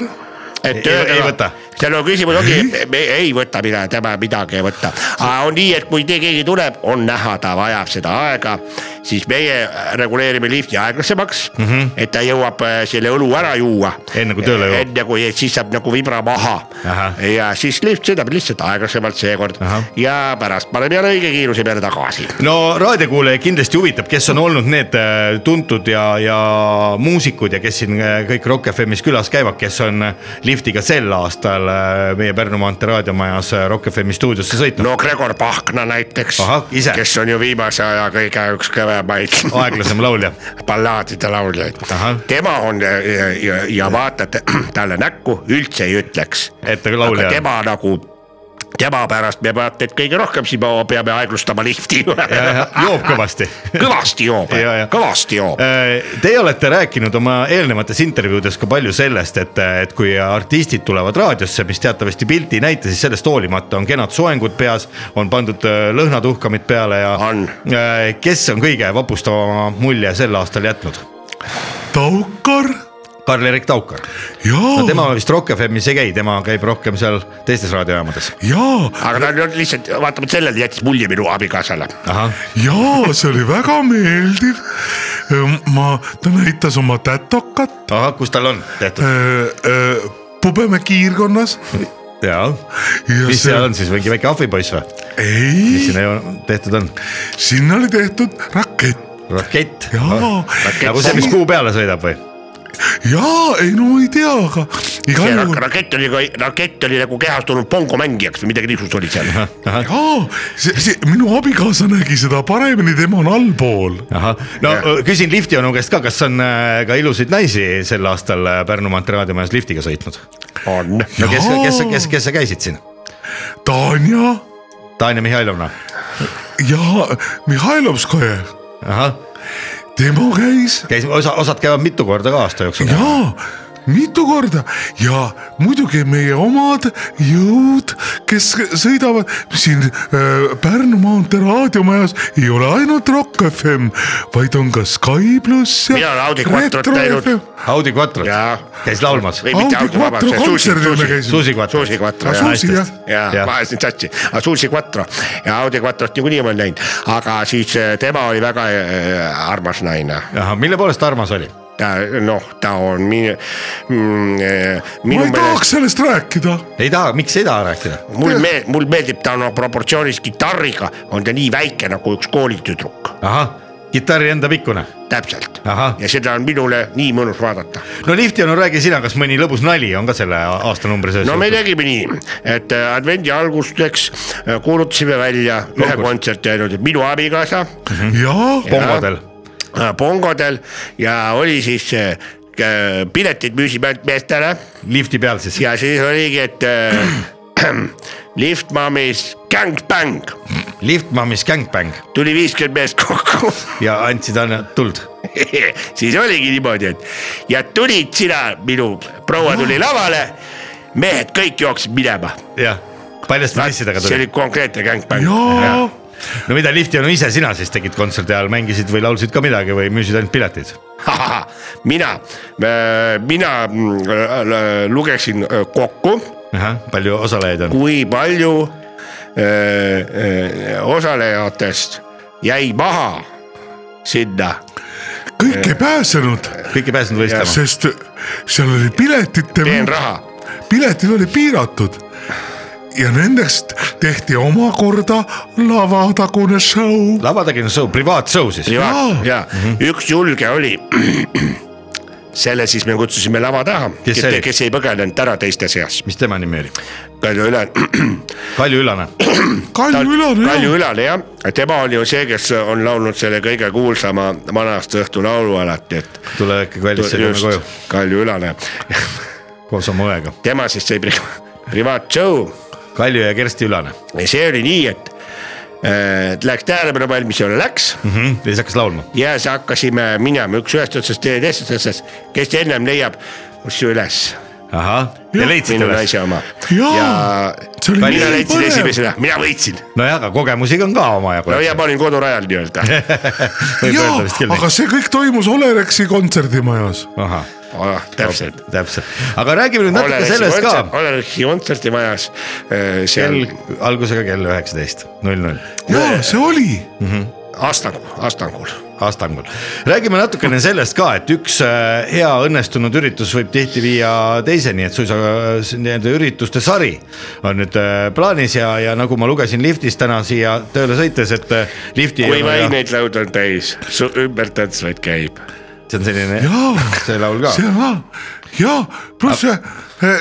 [SPEAKER 5] et
[SPEAKER 4] Ei- ei võta.
[SPEAKER 5] seal on küsimus ongi , me ei võta mina , tema midagi ei võta , aga on nii , et kui te- keegi tuleb , on näha , ta vajab seda aega , siis meie reguleerime lifti aeglasemaks mm , -hmm. et ta jõuab äh, selle õlu ära juua .
[SPEAKER 4] Mhm. Enne kui tööle jõuab.
[SPEAKER 5] enne kui , siis saab nagu vibra maha
[SPEAKER 4] Ahah.
[SPEAKER 5] ja siis lift sõidab lihtsalt aeglasemalt seekord
[SPEAKER 4] Ahah.
[SPEAKER 5] ja pärast paneb jälle õige kiiruse peale tagasi .
[SPEAKER 4] no raadiokuulajaid kindlasti huvitab , kes on olnud need äh, tuntud ja , ja muusikud ja kes siin äh, kõik Rock FM-is külas käivad , kes on äh, liftiga sel aastal äh, meie Pärnu maantee raadiomajas äh, Rock FM-i stuudiosse sõitnud
[SPEAKER 5] no Gregor Pahkna näiteks
[SPEAKER 4] Ahah, ise. ,
[SPEAKER 5] kes on ju viimase aja kõige üks kõvemaid
[SPEAKER 4] no. . aeglasem laulja .
[SPEAKER 5] ballaadide lauljaid
[SPEAKER 4] Ahah. .
[SPEAKER 5] tema on ja, ja, ja vaatad talle näkku , üldse ei ütleks .
[SPEAKER 4] Et ta laulja
[SPEAKER 5] aga
[SPEAKER 4] on.
[SPEAKER 5] tema nagu , tema pärast me vaata , et kõige rohkem siin me peame aeglustama lifti .
[SPEAKER 4] joob kõvasti .
[SPEAKER 5] kõvasti joob
[SPEAKER 4] Ja, ja. ,
[SPEAKER 5] kõvasti joob .
[SPEAKER 4] Teie Äh, olete rääkinud oma eelnevates intervjuudes ka palju sellest , et , et kui artistid tulevad raadiosse , mis teatavasti pilti ei näita , siis sellest hoolimata on kenad soengud peas , on pandud äh, lõhnatuhkamid peale ja
[SPEAKER 5] On.
[SPEAKER 4] Äh, kes on kõige vapustavama mulje sel aastal jätnud ?
[SPEAKER 6] Taukar
[SPEAKER 4] Karl-Erik Taukar ,
[SPEAKER 6] ja
[SPEAKER 4] no
[SPEAKER 6] no, ,
[SPEAKER 4] tema vist Rock FM-is ei käi , tema käib rohkem seal teistes raadiojaamades .
[SPEAKER 6] ja ,
[SPEAKER 5] aga ta on ju lihtsalt , vaatamata sellele jättis mulje minu abikaasale .
[SPEAKER 6] ja see oli väga meeldiv . ma , ta näitas oma tätokat
[SPEAKER 4] ahah , kus tal on tehtud ?
[SPEAKER 6] äh, äh, Pubemäe kiirkonnas .
[SPEAKER 4] jaa , mis seal on siis , mingi väike ahvipoiss või ? mis
[SPEAKER 6] ei ,
[SPEAKER 4] sinna ju tehtud on ?
[SPEAKER 6] sinna oli tehtud rakett
[SPEAKER 4] rakett .
[SPEAKER 6] Jaa.
[SPEAKER 4] nagu see , mis kuu peale sõidab või ?
[SPEAKER 6] jaa , ei no ma ei tea , aga igal
[SPEAKER 5] see rak-
[SPEAKER 6] juhul ,
[SPEAKER 5] rakett oli , rakett oli nagu kehastunud pongomängijaks või midagi niisugust oli seal .
[SPEAKER 6] jaa , see , see minu abikaasa nägi seda paremini , tema on allpool .
[SPEAKER 4] ahah , no äh, küsin lifti onu käest ka , kas on äh, ka ilusaid naisi sel aastal äh, Pärnu maantee raadiomajas liftiga sõitnud ?
[SPEAKER 5] on .
[SPEAKER 4] no kes ,
[SPEAKER 6] Jaa.
[SPEAKER 4] kes , kes , kes sa käisid siin ?
[SPEAKER 6] Tanja
[SPEAKER 4] Tanja Mihhailovna ,
[SPEAKER 6] ja Mihhailovskaja ,
[SPEAKER 4] ahah ,
[SPEAKER 6] tema käis
[SPEAKER 4] käis , osa , osad käivad mitu korda ka aasta jooksul .
[SPEAKER 6] jaa , mitu korda ja muidugi meie omad jõud , kes sõidavad siin äh, Pärnu maantee raadiomajas , ei ole ainult Rock FM , vaid on ka Sky pluss ja .
[SPEAKER 5] Mina olen Audi Quattrot näinud. .
[SPEAKER 4] Audi Quattrot
[SPEAKER 5] Jaa.
[SPEAKER 4] käis laulmas ,
[SPEAKER 5] Või mitte
[SPEAKER 6] Audi
[SPEAKER 5] Audi, vabandust,
[SPEAKER 6] Quattro
[SPEAKER 5] see Susi-
[SPEAKER 6] kontserdil me
[SPEAKER 5] Susi-
[SPEAKER 6] käisime .
[SPEAKER 4] Susi Quattro .
[SPEAKER 5] Suusi Quattro
[SPEAKER 6] Ah,
[SPEAKER 5] ja
[SPEAKER 6] Suusi,
[SPEAKER 5] naistest
[SPEAKER 6] jah.
[SPEAKER 5] ja
[SPEAKER 4] Jah.
[SPEAKER 5] ma ajasin sassi , aga Suusi Quattro ja Audi Quattrot niikuinii ma olen näinud , aga siis äh, tema oli väga äh, armas naine .
[SPEAKER 4] ahah , mille poolest ta armas oli ?
[SPEAKER 5] ta noh , ta on minu mm, ,
[SPEAKER 6] ma
[SPEAKER 5] minu
[SPEAKER 6] ei tahaks
[SPEAKER 5] meelest ,
[SPEAKER 6] sellest rääkida .
[SPEAKER 4] ei taha , miks ei taha rääkida ?
[SPEAKER 5] mul meeldib , noh, mul meeldib ta no proportsioonis kitarriga on ta nii väike nagu üks koolitüdruk .
[SPEAKER 4] ahah , kitarri enda pikkune .
[SPEAKER 5] täpselt
[SPEAKER 4] Ahah. .
[SPEAKER 5] ja seda on minule nii mõnus vaadata .
[SPEAKER 4] no lifti onu , räägi sina , kas mõni lõbus nali on ka selle a- aastanumbri sees ?
[SPEAKER 5] no me tegime nii , et äh, advendi algusteks äh, kuulutasime välja ühe kontserti ainult , et minu abikaasa
[SPEAKER 4] jah . pongodel .
[SPEAKER 5] äh, Pongodel ja oli siis äh, k- piletid müüsime ainult meestele
[SPEAKER 4] lifti peal siis .
[SPEAKER 5] ja siis oligi , et äh, Lift Mommis gängbäng
[SPEAKER 4] lift mammis gängbäng
[SPEAKER 5] tuli viiskümmend meest kokku
[SPEAKER 4] ja andsid aina tuld .
[SPEAKER 5] siis oligi niimoodi , et ja tulid sina , minu proua tuli lavale , mehed kõik jooksid minema .
[SPEAKER 4] jah , palju seda asjadega
[SPEAKER 5] see
[SPEAKER 4] tuli ?
[SPEAKER 5] oli konkreetne gängbäng .
[SPEAKER 4] no mida lifti onu ise sina siis tegid kontserdi ajal , mängisid või laulsid ka midagi või müüsid ainult piletid ?
[SPEAKER 5] mina , mina mm, äh, lugesin äh, kokku ,
[SPEAKER 4] ahah , palju osalejaid on ?
[SPEAKER 5] kui palju äh, äh, osalejatest jäi maha sinna
[SPEAKER 6] kõik ei pääsenud ,
[SPEAKER 4] kõik ei pääsenud võistlema .
[SPEAKER 6] sest seal oli piletite ,
[SPEAKER 5] peenraha .
[SPEAKER 6] piletid olid piiratud . ja nendest tehti omakorda lavatagune show .
[SPEAKER 4] lavatagine show , privaatshow siis .
[SPEAKER 5] ja , ja üks julge oli , selle siis me kutsusime lava taha ,
[SPEAKER 4] Kes
[SPEAKER 5] kes,
[SPEAKER 4] see oli?
[SPEAKER 5] kes ei põgenenud ära teiste seas .
[SPEAKER 4] mis tema nimi oli ?
[SPEAKER 5] Kalju Üle ,
[SPEAKER 4] Kalju Ülane .
[SPEAKER 6] Kalju Ülane jah.
[SPEAKER 5] Kalju Ülane jah , tema on ju see , kes on laulnud selle kõige kuulsama vana-aasta õhtulaulu alati , et .
[SPEAKER 4] tule ikkagi välja , siis jõuame
[SPEAKER 5] just
[SPEAKER 4] koju ,
[SPEAKER 5] Kalju Ülane ,
[SPEAKER 4] koos oma õega .
[SPEAKER 5] tema siis sai pri- privaatshow
[SPEAKER 4] Kalju ja Kersti Ülane
[SPEAKER 5] ja see oli nii , et äh, läks tähelepanu valmisele , läks
[SPEAKER 4] mm . -hmm. ja siis hakkas laulma .
[SPEAKER 5] ja siis hakkasime minema üks ühest otsast , teine teisest otsast , kes ennem leiab su üles ,
[SPEAKER 4] ahah , ja leidsid
[SPEAKER 5] minu
[SPEAKER 4] üles .
[SPEAKER 5] naise oma .
[SPEAKER 6] Jaa,
[SPEAKER 5] ja
[SPEAKER 6] see oli
[SPEAKER 5] mina
[SPEAKER 6] nii
[SPEAKER 5] leidsin
[SPEAKER 6] põnev.
[SPEAKER 5] esimesena , mina võitsin ,
[SPEAKER 4] nojah , aga kogemusi on ka omajagu .
[SPEAKER 5] no ja ma olin kodurajal nii-öelda .
[SPEAKER 4] võib
[SPEAKER 6] jaa
[SPEAKER 4] öelda vist , küll
[SPEAKER 6] aga
[SPEAKER 4] nii .
[SPEAKER 6] see kõik toimus Olerexi kontserdimajas .
[SPEAKER 4] ahah ,
[SPEAKER 5] täpselt .
[SPEAKER 4] täpselt , aga räägime nüüd natuke
[SPEAKER 5] Olerexi
[SPEAKER 4] sellest
[SPEAKER 5] kontsert-
[SPEAKER 4] ka .
[SPEAKER 5] Olerexi kontserdimajas äh, seal
[SPEAKER 4] kell , algusega kell üheksateist null null
[SPEAKER 6] jaa , see oli .
[SPEAKER 5] Astangul , Astangul .
[SPEAKER 4] Astangul . räägime natukene sellest ka , et üks äh, hea õnnestunud üritus võib tihti viia teiseni , et suisa äh, s- nii-öelda ürituste sari on nüüd äh, plaanis ja , ja nagu ma lugesin liftis täna siia tööle sõites , et äh, lifti .
[SPEAKER 5] kui vaineid laud on täis , su ümber tantsvaid käib .
[SPEAKER 4] see on selline
[SPEAKER 6] Jaa. ,
[SPEAKER 4] see laul ka
[SPEAKER 6] see . ka , jaa , pluss see,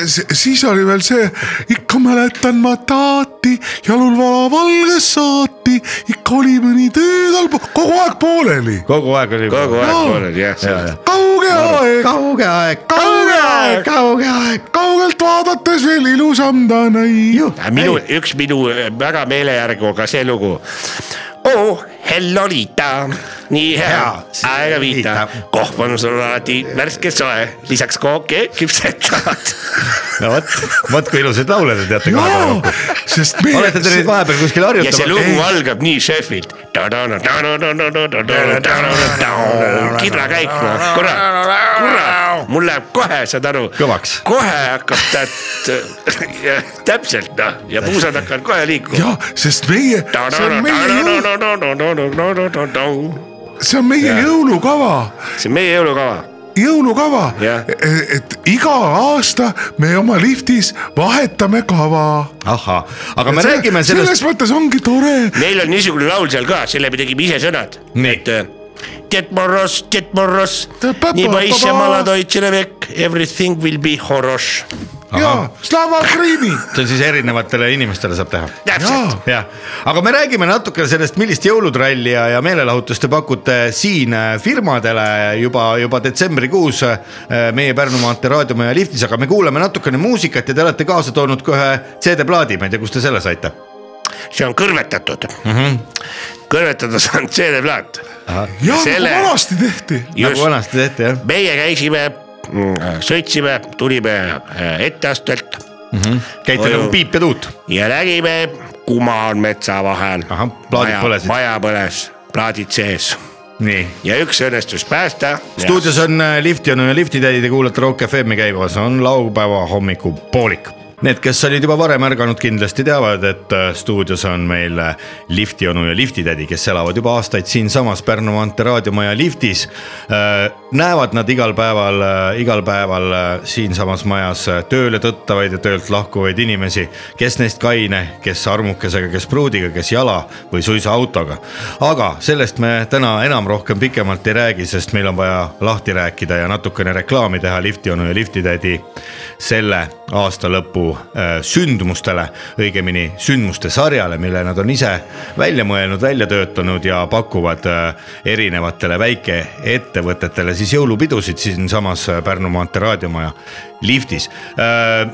[SPEAKER 6] see , siis oli veel see , ikka mäletan ma taati , jalul vala valges saati , ikka oli mõni töö tal , kogu aeg pooleli .
[SPEAKER 4] kogu aeg oli .
[SPEAKER 5] kogu aeg
[SPEAKER 6] Jaa.
[SPEAKER 5] olen jah , seal .
[SPEAKER 6] kauge aeg ,
[SPEAKER 4] kauge aeg ,
[SPEAKER 6] Kauge aeg!
[SPEAKER 4] kauge aeg .
[SPEAKER 6] kaugelt vaadates veel ilusam ta näi .
[SPEAKER 5] minu , üks minu äh, väga meelejärguga see lugu . oh , hello Liita , nii hea
[SPEAKER 4] Hea, ,
[SPEAKER 5] aega viita
[SPEAKER 4] Liita. ,
[SPEAKER 5] kohv on sul alati värske soe , lisaks kooke küpsetavad .
[SPEAKER 4] no vot , vot kui ilusaid laule te teate kahe päeva
[SPEAKER 6] jaa
[SPEAKER 4] kokku .,
[SPEAKER 6] sest meie .
[SPEAKER 4] olete te nüüd vahepeal kuskil
[SPEAKER 5] ja see
[SPEAKER 4] harjutamas ?
[SPEAKER 5] lugu algab nii šefilt . kidrakäik , noh , kurat , kurat , mul läheb kohe , saad aru .
[SPEAKER 4] Kõvaks.
[SPEAKER 5] kohe hakkab täht , täpselt noh , ja puusad hakkavad kohe liikuma .
[SPEAKER 6] jaa , sest meie , see on meie jõul , see on meie jõulukava
[SPEAKER 5] see on meie jõulukava ,
[SPEAKER 6] jõulukava E-,
[SPEAKER 5] Jah. ,
[SPEAKER 6] et iga aasta me oma liftis vahetame kava
[SPEAKER 4] ahah , aga me
[SPEAKER 6] See-
[SPEAKER 4] räägime sellest
[SPEAKER 6] selles mõttes ongi tore ,
[SPEAKER 5] meil on niisugune laul seal ka , selle me tegime ise sõnad ,
[SPEAKER 4] Nii.
[SPEAKER 5] et äh, Ted Morros , Ted Morros ,
[SPEAKER 6] Pa-pa-pa-pa.
[SPEAKER 5] nii poiss ja maladoitšene vekk , everything will be horoš .
[SPEAKER 6] jaa , Slava Ukraini .
[SPEAKER 4] see on siis erinevatele inimestele saab teha .
[SPEAKER 5] täpselt ,
[SPEAKER 4] jah , aga me räägime natuke sellest , millist jõulutralli ja , ja meelelahutust te pakute siin äh, firmadele juba , juba detsembrikuus äh, meie Pärnu maantee raadiomaja liftis , aga me kuulame natukene muusikat ja te olete kaasa toonud ka ühe CD-plaadi , ma ei tea , kust te selle saite .
[SPEAKER 5] see on kõrvetatud mm .
[SPEAKER 4] Mhm.
[SPEAKER 5] -hmm. kõrvetatud on CD-plaat .
[SPEAKER 6] jaa , nagu
[SPEAKER 5] Selle-
[SPEAKER 6] vanasti tehti .
[SPEAKER 4] nagu
[SPEAKER 5] just ,
[SPEAKER 4] vanasti tehti jah ,
[SPEAKER 5] meie käisime , sõitsime , tulime äh, etteastelt
[SPEAKER 4] käite
[SPEAKER 5] Oi,
[SPEAKER 4] nagu
[SPEAKER 5] oi.
[SPEAKER 4] piip ja tuut .
[SPEAKER 5] ja nägime , kuma on metsa vahel .
[SPEAKER 4] Ahah, plaadid põlesid.
[SPEAKER 5] maja põles , plaadid sees
[SPEAKER 4] nii
[SPEAKER 5] ja üks õnnestus päästa .
[SPEAKER 4] stuudios on äh, Lifti onu ja Lifti tädi , te kuulate Rock FM-i käimas , on laupäeva hommikupoolik . Need , kes olid juba varem ärganud , kindlasti teavad , et äh, stuudios on meil äh, lifti onu ja lifti tädi , kes elavad juba aastaid siinsamas Pärnu maantee raadiomaja liftis . näevad nad igal päeval , igal päeval äh, siinsamas majas äh, tööle tõttavaid ja töölt lahkuvaid inimesi , kes neist kaine , kes armukesega , kes pruudiga , kes jala või suisa autoga . aga sellest me täna enam rohkem pikemalt ei räägi , sest meil on vaja lahti rääkida ja natukene reklaami teha lifti onu ja lifti tädi selle aasta lõpu äh, sündmustele , õigemini sündmuste sarjale , mille nad on ise välja mõelnud , välja töötanud ja pakuvad äh, erinevatele väikeettevõtetele siis jõulupidusid siinsamas äh, Pärnu maantee raadiomaja liftis Äh,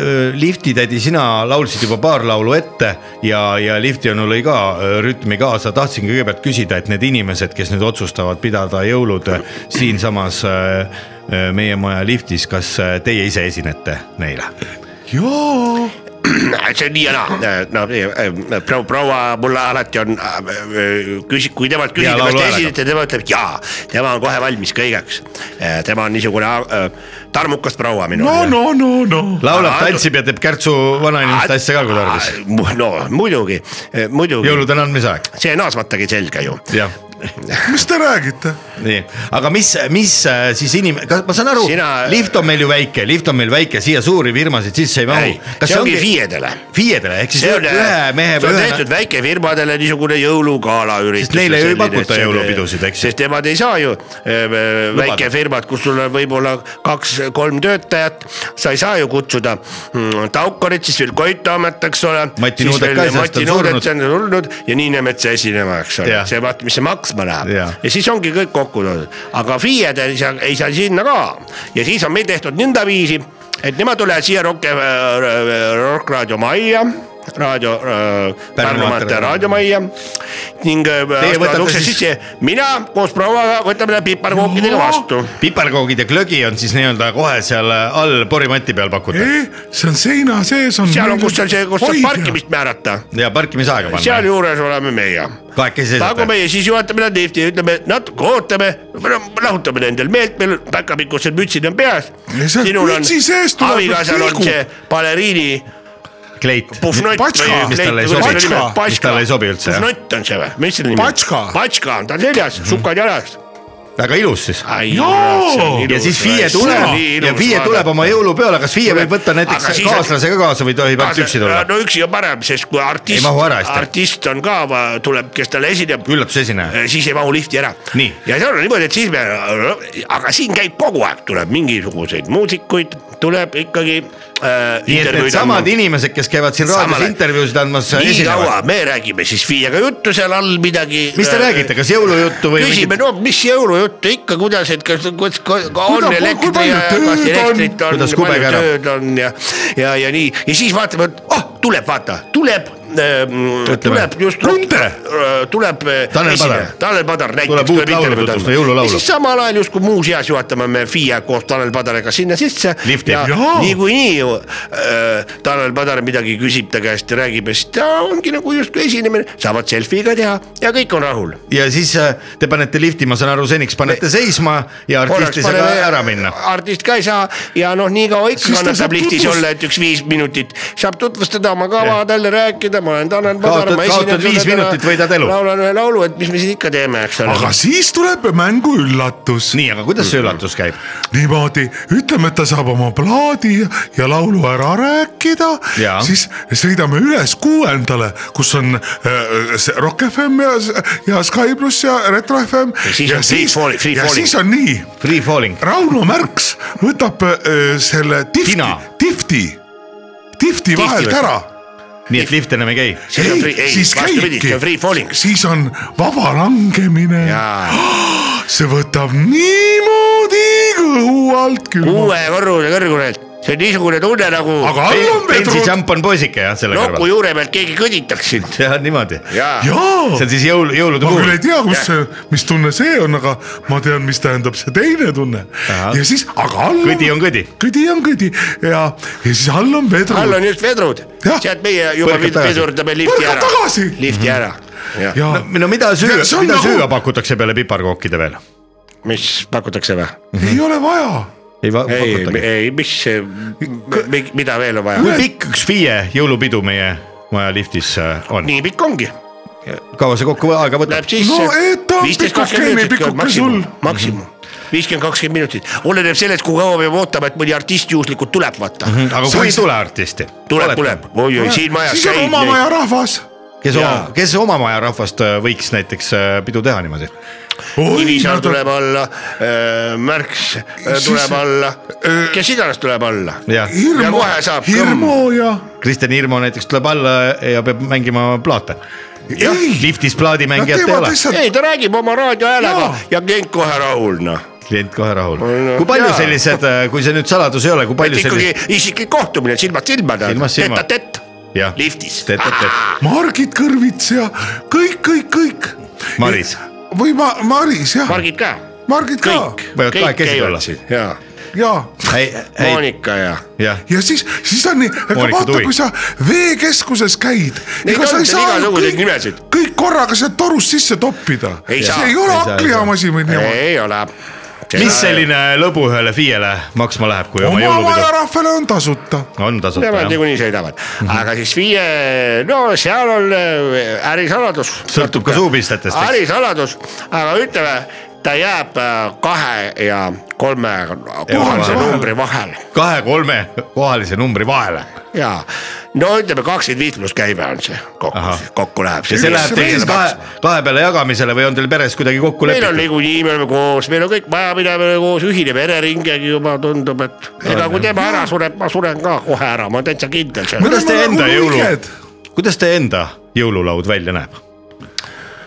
[SPEAKER 4] Öö, lifti tädi , sina laulsid juba paar laulu ette ja , ja lifti onu lõi ka öö, rütmi kaasa . tahtsin kõigepealt küsida , et need inimesed , kes nüüd otsustavad pidada jõulud öö, siinsamas öö, öö, meie maja liftis , kas öö, teie ise esinete neile ?
[SPEAKER 5] see on nii ja naa , Äh, no eh, proua , proua mulle alati on eh, küsi- , kui temalt
[SPEAKER 4] Hea
[SPEAKER 5] küsida ,
[SPEAKER 4] laulu
[SPEAKER 5] kas te
[SPEAKER 4] häälega.
[SPEAKER 5] esinete , tema ütleb jaa , tema on kohe valmis kõigeks . tema on niisugune eh, tarmukas proua minu .
[SPEAKER 6] no , no , no , no .
[SPEAKER 4] laulab ,
[SPEAKER 5] Aga-
[SPEAKER 4] tantsib ja teeb Kärtsu vanainimeste asja ka , kui tarvis ..
[SPEAKER 5] Ah, no muidugi , muidugi ,
[SPEAKER 4] jõulude andmise aeg ,
[SPEAKER 5] see naasmatagi selge ju .
[SPEAKER 4] jah ,
[SPEAKER 6] mis te räägite ?
[SPEAKER 4] nii , aga mis , mis öö, siis inim- , kas ma saan aru
[SPEAKER 5] Sina-
[SPEAKER 4] Sina... , lift on meil ju väike , lift on meil väike , siia suuri firmasid sisse ei mahu
[SPEAKER 5] ei ,. see ongi FIE-dele .
[SPEAKER 4] FIE-dele ehk siis
[SPEAKER 5] see on
[SPEAKER 4] ühe mehe
[SPEAKER 5] see
[SPEAKER 4] või
[SPEAKER 5] on
[SPEAKER 4] ühe
[SPEAKER 5] tehtud väikefirmadele niisugune jõulugala üritus .
[SPEAKER 4] Sest neile ju ei pakuta jõulupidusid, eks ju.
[SPEAKER 5] sest nemad ei saa ju äh, väikefirmad , kus sul on võib-olla kaks-kolm töötajat , sa ei saa ju kutsuda mm, Taukarit , siis veel Koit Taamet , eks ole .
[SPEAKER 4] Mati Nuudek ka sest
[SPEAKER 5] Mati
[SPEAKER 4] on
[SPEAKER 5] Nuudek ,
[SPEAKER 4] surnud.
[SPEAKER 5] see on surnud ja Niinemetsa esinema , eks ole
[SPEAKER 4] Jah. ,
[SPEAKER 5] see vaata , mis see maksma läheb
[SPEAKER 4] Jah.
[SPEAKER 5] ja siis ongi kõik kokku toodud , aga FIE-d ei saa , ei saa sinna ka ja siis on meil tehtud nõndaviisi , et nemad tulevad siia Rock , Rock Raadio majja , raadio , Pärnu maantee raadiomajja ning . äh,
[SPEAKER 4] võtate siis-
[SPEAKER 5] mina koos prouaga võtame need piparkookidega vastu .
[SPEAKER 4] piparkoogid ja glögi on siis nii-öelda kohe seal all porimati peal pakutud
[SPEAKER 6] see on seina sees on .
[SPEAKER 5] seal on , kus on see , kus saab . parkimist määrata ,
[SPEAKER 4] ja parkimisaega panna .
[SPEAKER 5] sealjuures oleme meie
[SPEAKER 4] kahekesi
[SPEAKER 5] nagu
[SPEAKER 4] seisate .
[SPEAKER 5] meie siis juhatame nad lifti , ütleme natuke ootame , lahutame nendel meelt , meil päkapikud seal mütsid on peas
[SPEAKER 6] Ja . seal mütsi sees tuleb
[SPEAKER 5] abikaasal on
[SPEAKER 6] pilgu.
[SPEAKER 5] see baleriini
[SPEAKER 4] kleit .
[SPEAKER 5] puhnott .
[SPEAKER 6] Patska.
[SPEAKER 4] Mis talle ei sobi. Patska. Mis talle ei sobi üldse, jah. Mhm.
[SPEAKER 5] puhnott on see või , mis selle nimi on ?
[SPEAKER 6] Patska.
[SPEAKER 5] patska on tal seljas , sukad jalas .
[SPEAKER 4] väga ilus
[SPEAKER 5] Ah,
[SPEAKER 4] siis .
[SPEAKER 6] Ilus
[SPEAKER 4] ja siis FIE tuleb ja FIE tuleb oma jõulupeole , kas FIE võib võtta näiteks
[SPEAKER 5] Aga siis on-
[SPEAKER 4] kaaslase ka kaasa või tohib ainult üksi tulla ?
[SPEAKER 5] no üksi on parem , sest kui
[SPEAKER 4] Ei
[SPEAKER 5] artist
[SPEAKER 4] mahu ära hästi. ,
[SPEAKER 5] artist on ka , tuleb , kes talle esineb ,
[SPEAKER 4] üllatusesineja .
[SPEAKER 5] Äh, siis ei mahu lifti ära .
[SPEAKER 4] Nii.
[SPEAKER 5] ja seal on niimoodi , et siis me , aga siin käib kogu aeg , tuleb mingisuguseid muusikuid , tuleb ikkagi äh, .
[SPEAKER 4] nii et needsamad inimesed , kes käivad siin raadios
[SPEAKER 5] Samale-
[SPEAKER 4] intervjuusid andmas ,
[SPEAKER 5] nii kaua
[SPEAKER 4] esinevad .
[SPEAKER 5] me räägime siis FIE-ga juttu seal all midagi . Äh,
[SPEAKER 4] mis te räägite , kas jõulujuttu või ?
[SPEAKER 5] küsime , no mis jõulujuttu ikka , kuidas , et kas , kas ka on
[SPEAKER 6] Kuida- kui
[SPEAKER 5] elektri
[SPEAKER 6] palju
[SPEAKER 5] ja ja kas
[SPEAKER 6] tööd
[SPEAKER 5] elektrit on ,
[SPEAKER 4] Kuidas
[SPEAKER 5] palju
[SPEAKER 4] kubega ära?
[SPEAKER 5] tööd on ja , ja , ja nii ja siis vaatame , et oh , tuleb , vaata , tuleb ähm, , tuleb just .
[SPEAKER 4] Tunde!
[SPEAKER 5] tuleb äh,
[SPEAKER 4] Tanel
[SPEAKER 5] esineja,
[SPEAKER 4] Padar.
[SPEAKER 5] Tanel Padar
[SPEAKER 4] Tuleb
[SPEAKER 5] näiteks .
[SPEAKER 4] uut laulu tutvustada, jõululaulu.
[SPEAKER 5] siis samal ajal justkui muuseas juhatame me FIE koos Tanel Padariga sinna sisse .
[SPEAKER 4] Lifti.
[SPEAKER 5] ja
[SPEAKER 4] Jaa.
[SPEAKER 5] niikuinii ju äh, Tanel Padar midagi küsib ta käest ja räägib ja siis ta ongi nagu justkui esinemine , saavad selfie ka teha ja kõik on rahul
[SPEAKER 4] ja siis äh, te panete lifti , ma saan aru , seniks panete seisma ja artist ei saa ka ära minna .
[SPEAKER 5] artist ka ei saa ja noh , nii kaua ikka
[SPEAKER 6] Siis ta
[SPEAKER 5] kannatab
[SPEAKER 6] saab
[SPEAKER 5] liftis
[SPEAKER 6] tutvust-
[SPEAKER 5] olla , et üks viis minutit saab tutvustada oma kava , talle rääkida , ma olen Tanel Padar .
[SPEAKER 4] Kaotad- kaotad viis minutit, võidad elu.
[SPEAKER 5] laulan ühe laulu , et mis me siin ikka teeme , eks
[SPEAKER 6] aga
[SPEAKER 5] ole .
[SPEAKER 6] siis tuleb mängu üllatus .
[SPEAKER 4] nii , aga kuidas see üllatus käib ?
[SPEAKER 6] niimoodi , ütleme , et ta saab oma plaadi ja- ja laulu ära rääkida
[SPEAKER 4] Jaa. ,
[SPEAKER 6] siis sõidame üles kuuendale , kus on äh, see Rock FM ja , ja Sky pluss ja Retro FM .
[SPEAKER 5] siis on Free Falling- Free
[SPEAKER 6] ja
[SPEAKER 5] Falling.
[SPEAKER 6] siis on nii ,
[SPEAKER 4] Free falling .
[SPEAKER 6] Rauno Märks võtab äh, selle tifti
[SPEAKER 4] Tina. ,
[SPEAKER 6] tifti , tifti vahelt
[SPEAKER 5] võtab.
[SPEAKER 6] ära .
[SPEAKER 4] nii et lift enam ei käi .
[SPEAKER 5] siis on free , ei , vastupidi , see on free falling .
[SPEAKER 6] siis on vaba langemine , see võtab niimoodi kõhu alt külma .
[SPEAKER 5] kuue korruse kõrguselt , see on niisugune tunne nagu
[SPEAKER 6] aga all on vedrud .
[SPEAKER 4] bensijamp on poisike jah , selle
[SPEAKER 5] nuku
[SPEAKER 4] kõrval .
[SPEAKER 5] juure pealt keegi kõditaks sind .
[SPEAKER 4] jah , niimoodi .
[SPEAKER 5] jaa .
[SPEAKER 6] jaa
[SPEAKER 4] see on siis jõul , jõulude
[SPEAKER 6] ma küll ei
[SPEAKER 4] puhul .
[SPEAKER 6] tea , mis see , mis tunne see on , aga ma tean , mis tähendab see teine tunne . ja siis , aga all .
[SPEAKER 4] Kõdi on kõdi.
[SPEAKER 6] kõdi on kõdi ja , ja siis all on
[SPEAKER 5] all
[SPEAKER 6] vedru
[SPEAKER 5] on . just vedrud ,
[SPEAKER 6] Jah.
[SPEAKER 5] sealt meie juba
[SPEAKER 4] Põrkab tagasi.
[SPEAKER 5] pidurdame lifti
[SPEAKER 6] Põrkab
[SPEAKER 5] ära
[SPEAKER 6] tagasi. ,
[SPEAKER 5] lifti ära , jah ,
[SPEAKER 6] ja
[SPEAKER 4] no no mida süüa
[SPEAKER 6] Ja see , on
[SPEAKER 4] mida
[SPEAKER 6] nagu-
[SPEAKER 4] süüa pakutakse peale piparkookide veel ?
[SPEAKER 5] mis pakutakse või ?
[SPEAKER 6] ei ole vaja .
[SPEAKER 4] ei va-
[SPEAKER 5] ei ,
[SPEAKER 4] pakutagi .
[SPEAKER 5] ei , mis , mida veel on
[SPEAKER 4] kui
[SPEAKER 5] vaja ?
[SPEAKER 4] pikk üks FIE jõulupidu meie maja liftis äh, on ?
[SPEAKER 5] nii pikk ongi ,
[SPEAKER 4] kaua see kokku aega võtab
[SPEAKER 5] läheb ? sisse
[SPEAKER 6] No, et ta on .
[SPEAKER 5] viisteist ,
[SPEAKER 6] pikuke,
[SPEAKER 5] kakskümmend
[SPEAKER 6] nii
[SPEAKER 5] minutit
[SPEAKER 6] pikuke
[SPEAKER 5] maksimum
[SPEAKER 6] sul. ,
[SPEAKER 5] maksimum viiskümmend , kakskümmend minutit , oleneb sellest , kui kaua me ootame , et mõni artist juhuslikult tuleb , vaata .
[SPEAKER 6] Mhm,
[SPEAKER 4] aga kui ei tule artisti ?
[SPEAKER 5] tuleb , tuleb , oi-oi , siin majas
[SPEAKER 6] siis on
[SPEAKER 5] käib
[SPEAKER 6] oma . maja rahvas .
[SPEAKER 4] kes
[SPEAKER 5] Jaa.
[SPEAKER 4] oma , kes oma maja rahvast äh, võiks näiteks äh, pidu teha niimoodi ?
[SPEAKER 5] Kivisaar tuleb alla , Märks äh, tuleb alla ,
[SPEAKER 6] öö,
[SPEAKER 5] kes iganes tuleb alla .
[SPEAKER 4] jah ,
[SPEAKER 5] ja
[SPEAKER 6] hirmu
[SPEAKER 5] kohe , saab .
[SPEAKER 6] hirmu ja
[SPEAKER 4] Kristjan Hirmu näiteks tuleb alla ja peab mängima plaate .
[SPEAKER 6] ei ,
[SPEAKER 4] liftis
[SPEAKER 6] nad
[SPEAKER 4] plaadimängijat ei
[SPEAKER 6] teevad
[SPEAKER 4] ole ,
[SPEAKER 6] lihtsalt ,
[SPEAKER 5] ei , ta räägib oma raadiohäälega
[SPEAKER 6] Jaa.
[SPEAKER 5] ja klient kohe rahul , noh .
[SPEAKER 4] klient kohe rahul . kui palju
[SPEAKER 5] jaa.
[SPEAKER 4] sellised , kui see nüüd saladus ei ole , kui palju
[SPEAKER 5] ikkagi
[SPEAKER 4] sellised ,
[SPEAKER 5] isiklik kohtumine silmad silma
[SPEAKER 4] Silmast silma.
[SPEAKER 5] tett-a-tett ,
[SPEAKER 4] jah ,
[SPEAKER 5] liftis .
[SPEAKER 4] tett-a-tett ,
[SPEAKER 6] Margit Kõrvits ja kõik , kõik , kõik .
[SPEAKER 4] Maris ,
[SPEAKER 6] või ma , Maris jah ,
[SPEAKER 5] Margid ka ,
[SPEAKER 6] Margit ka
[SPEAKER 5] kõik .
[SPEAKER 4] Võivad kahekesi tulla.
[SPEAKER 5] jaa ,
[SPEAKER 6] ja ,
[SPEAKER 4] ei , ei ,
[SPEAKER 5] Monika ja .
[SPEAKER 4] jah ,
[SPEAKER 6] ja siis , siis on nii , aga
[SPEAKER 4] Monika
[SPEAKER 6] vaata
[SPEAKER 4] Tuvi. ,
[SPEAKER 6] kui sa veekeskuses käid ,
[SPEAKER 5] Neid
[SPEAKER 6] ega
[SPEAKER 5] on
[SPEAKER 6] sa ei
[SPEAKER 5] seal
[SPEAKER 6] saa ju
[SPEAKER 5] igasuguseid
[SPEAKER 6] kõik
[SPEAKER 5] nimesid. ,
[SPEAKER 6] kõik korraga sealt torust sisse toppida .
[SPEAKER 5] Ei saa.
[SPEAKER 6] see ei ole
[SPEAKER 4] Ei saa, ei
[SPEAKER 6] hakklihamasin või niimoodi .
[SPEAKER 5] ei ole .
[SPEAKER 4] mis ? selline lõbu ühele FIE-le maksma läheb , kui oma
[SPEAKER 6] oma maja
[SPEAKER 4] jõulupidu
[SPEAKER 6] rahvale on tasuta .
[SPEAKER 4] on Mhm. tasuta
[SPEAKER 5] Nemad
[SPEAKER 4] jah ?
[SPEAKER 5] niikuinii sõidavad , aga siis viie , no seal on äh, ärisaladus .
[SPEAKER 4] Sõltub ka suupistetest, eks?
[SPEAKER 5] ärisaladus , aga ütleme , ta jääb äh, kahe ja kolme
[SPEAKER 4] vahele.
[SPEAKER 5] kohalise numbri vahel
[SPEAKER 4] kahe-kolme kohalise numbri vahele
[SPEAKER 5] ja no ütleme , kakskümmend viis pluss käive on see kokku
[SPEAKER 4] Ahah. ,
[SPEAKER 5] kokku läheb
[SPEAKER 4] ja see läheb teil kahe , kahe peale jagamisele või on teil peres kuidagi kokku
[SPEAKER 5] meil on
[SPEAKER 4] lepitud ?
[SPEAKER 5] niikuinii , me oleme koos , meil on kõik majapidamine koos , ühineb Eleringegi juba tundub , et ega kui tema ära sureb , ma suren ka kohe ära , ma olen täitsa kindel selles .
[SPEAKER 4] kuidas teie enda
[SPEAKER 6] Mul on
[SPEAKER 4] jõulu
[SPEAKER 6] vihjed. ,
[SPEAKER 4] kuidas teie enda jõululaud välja näeb ?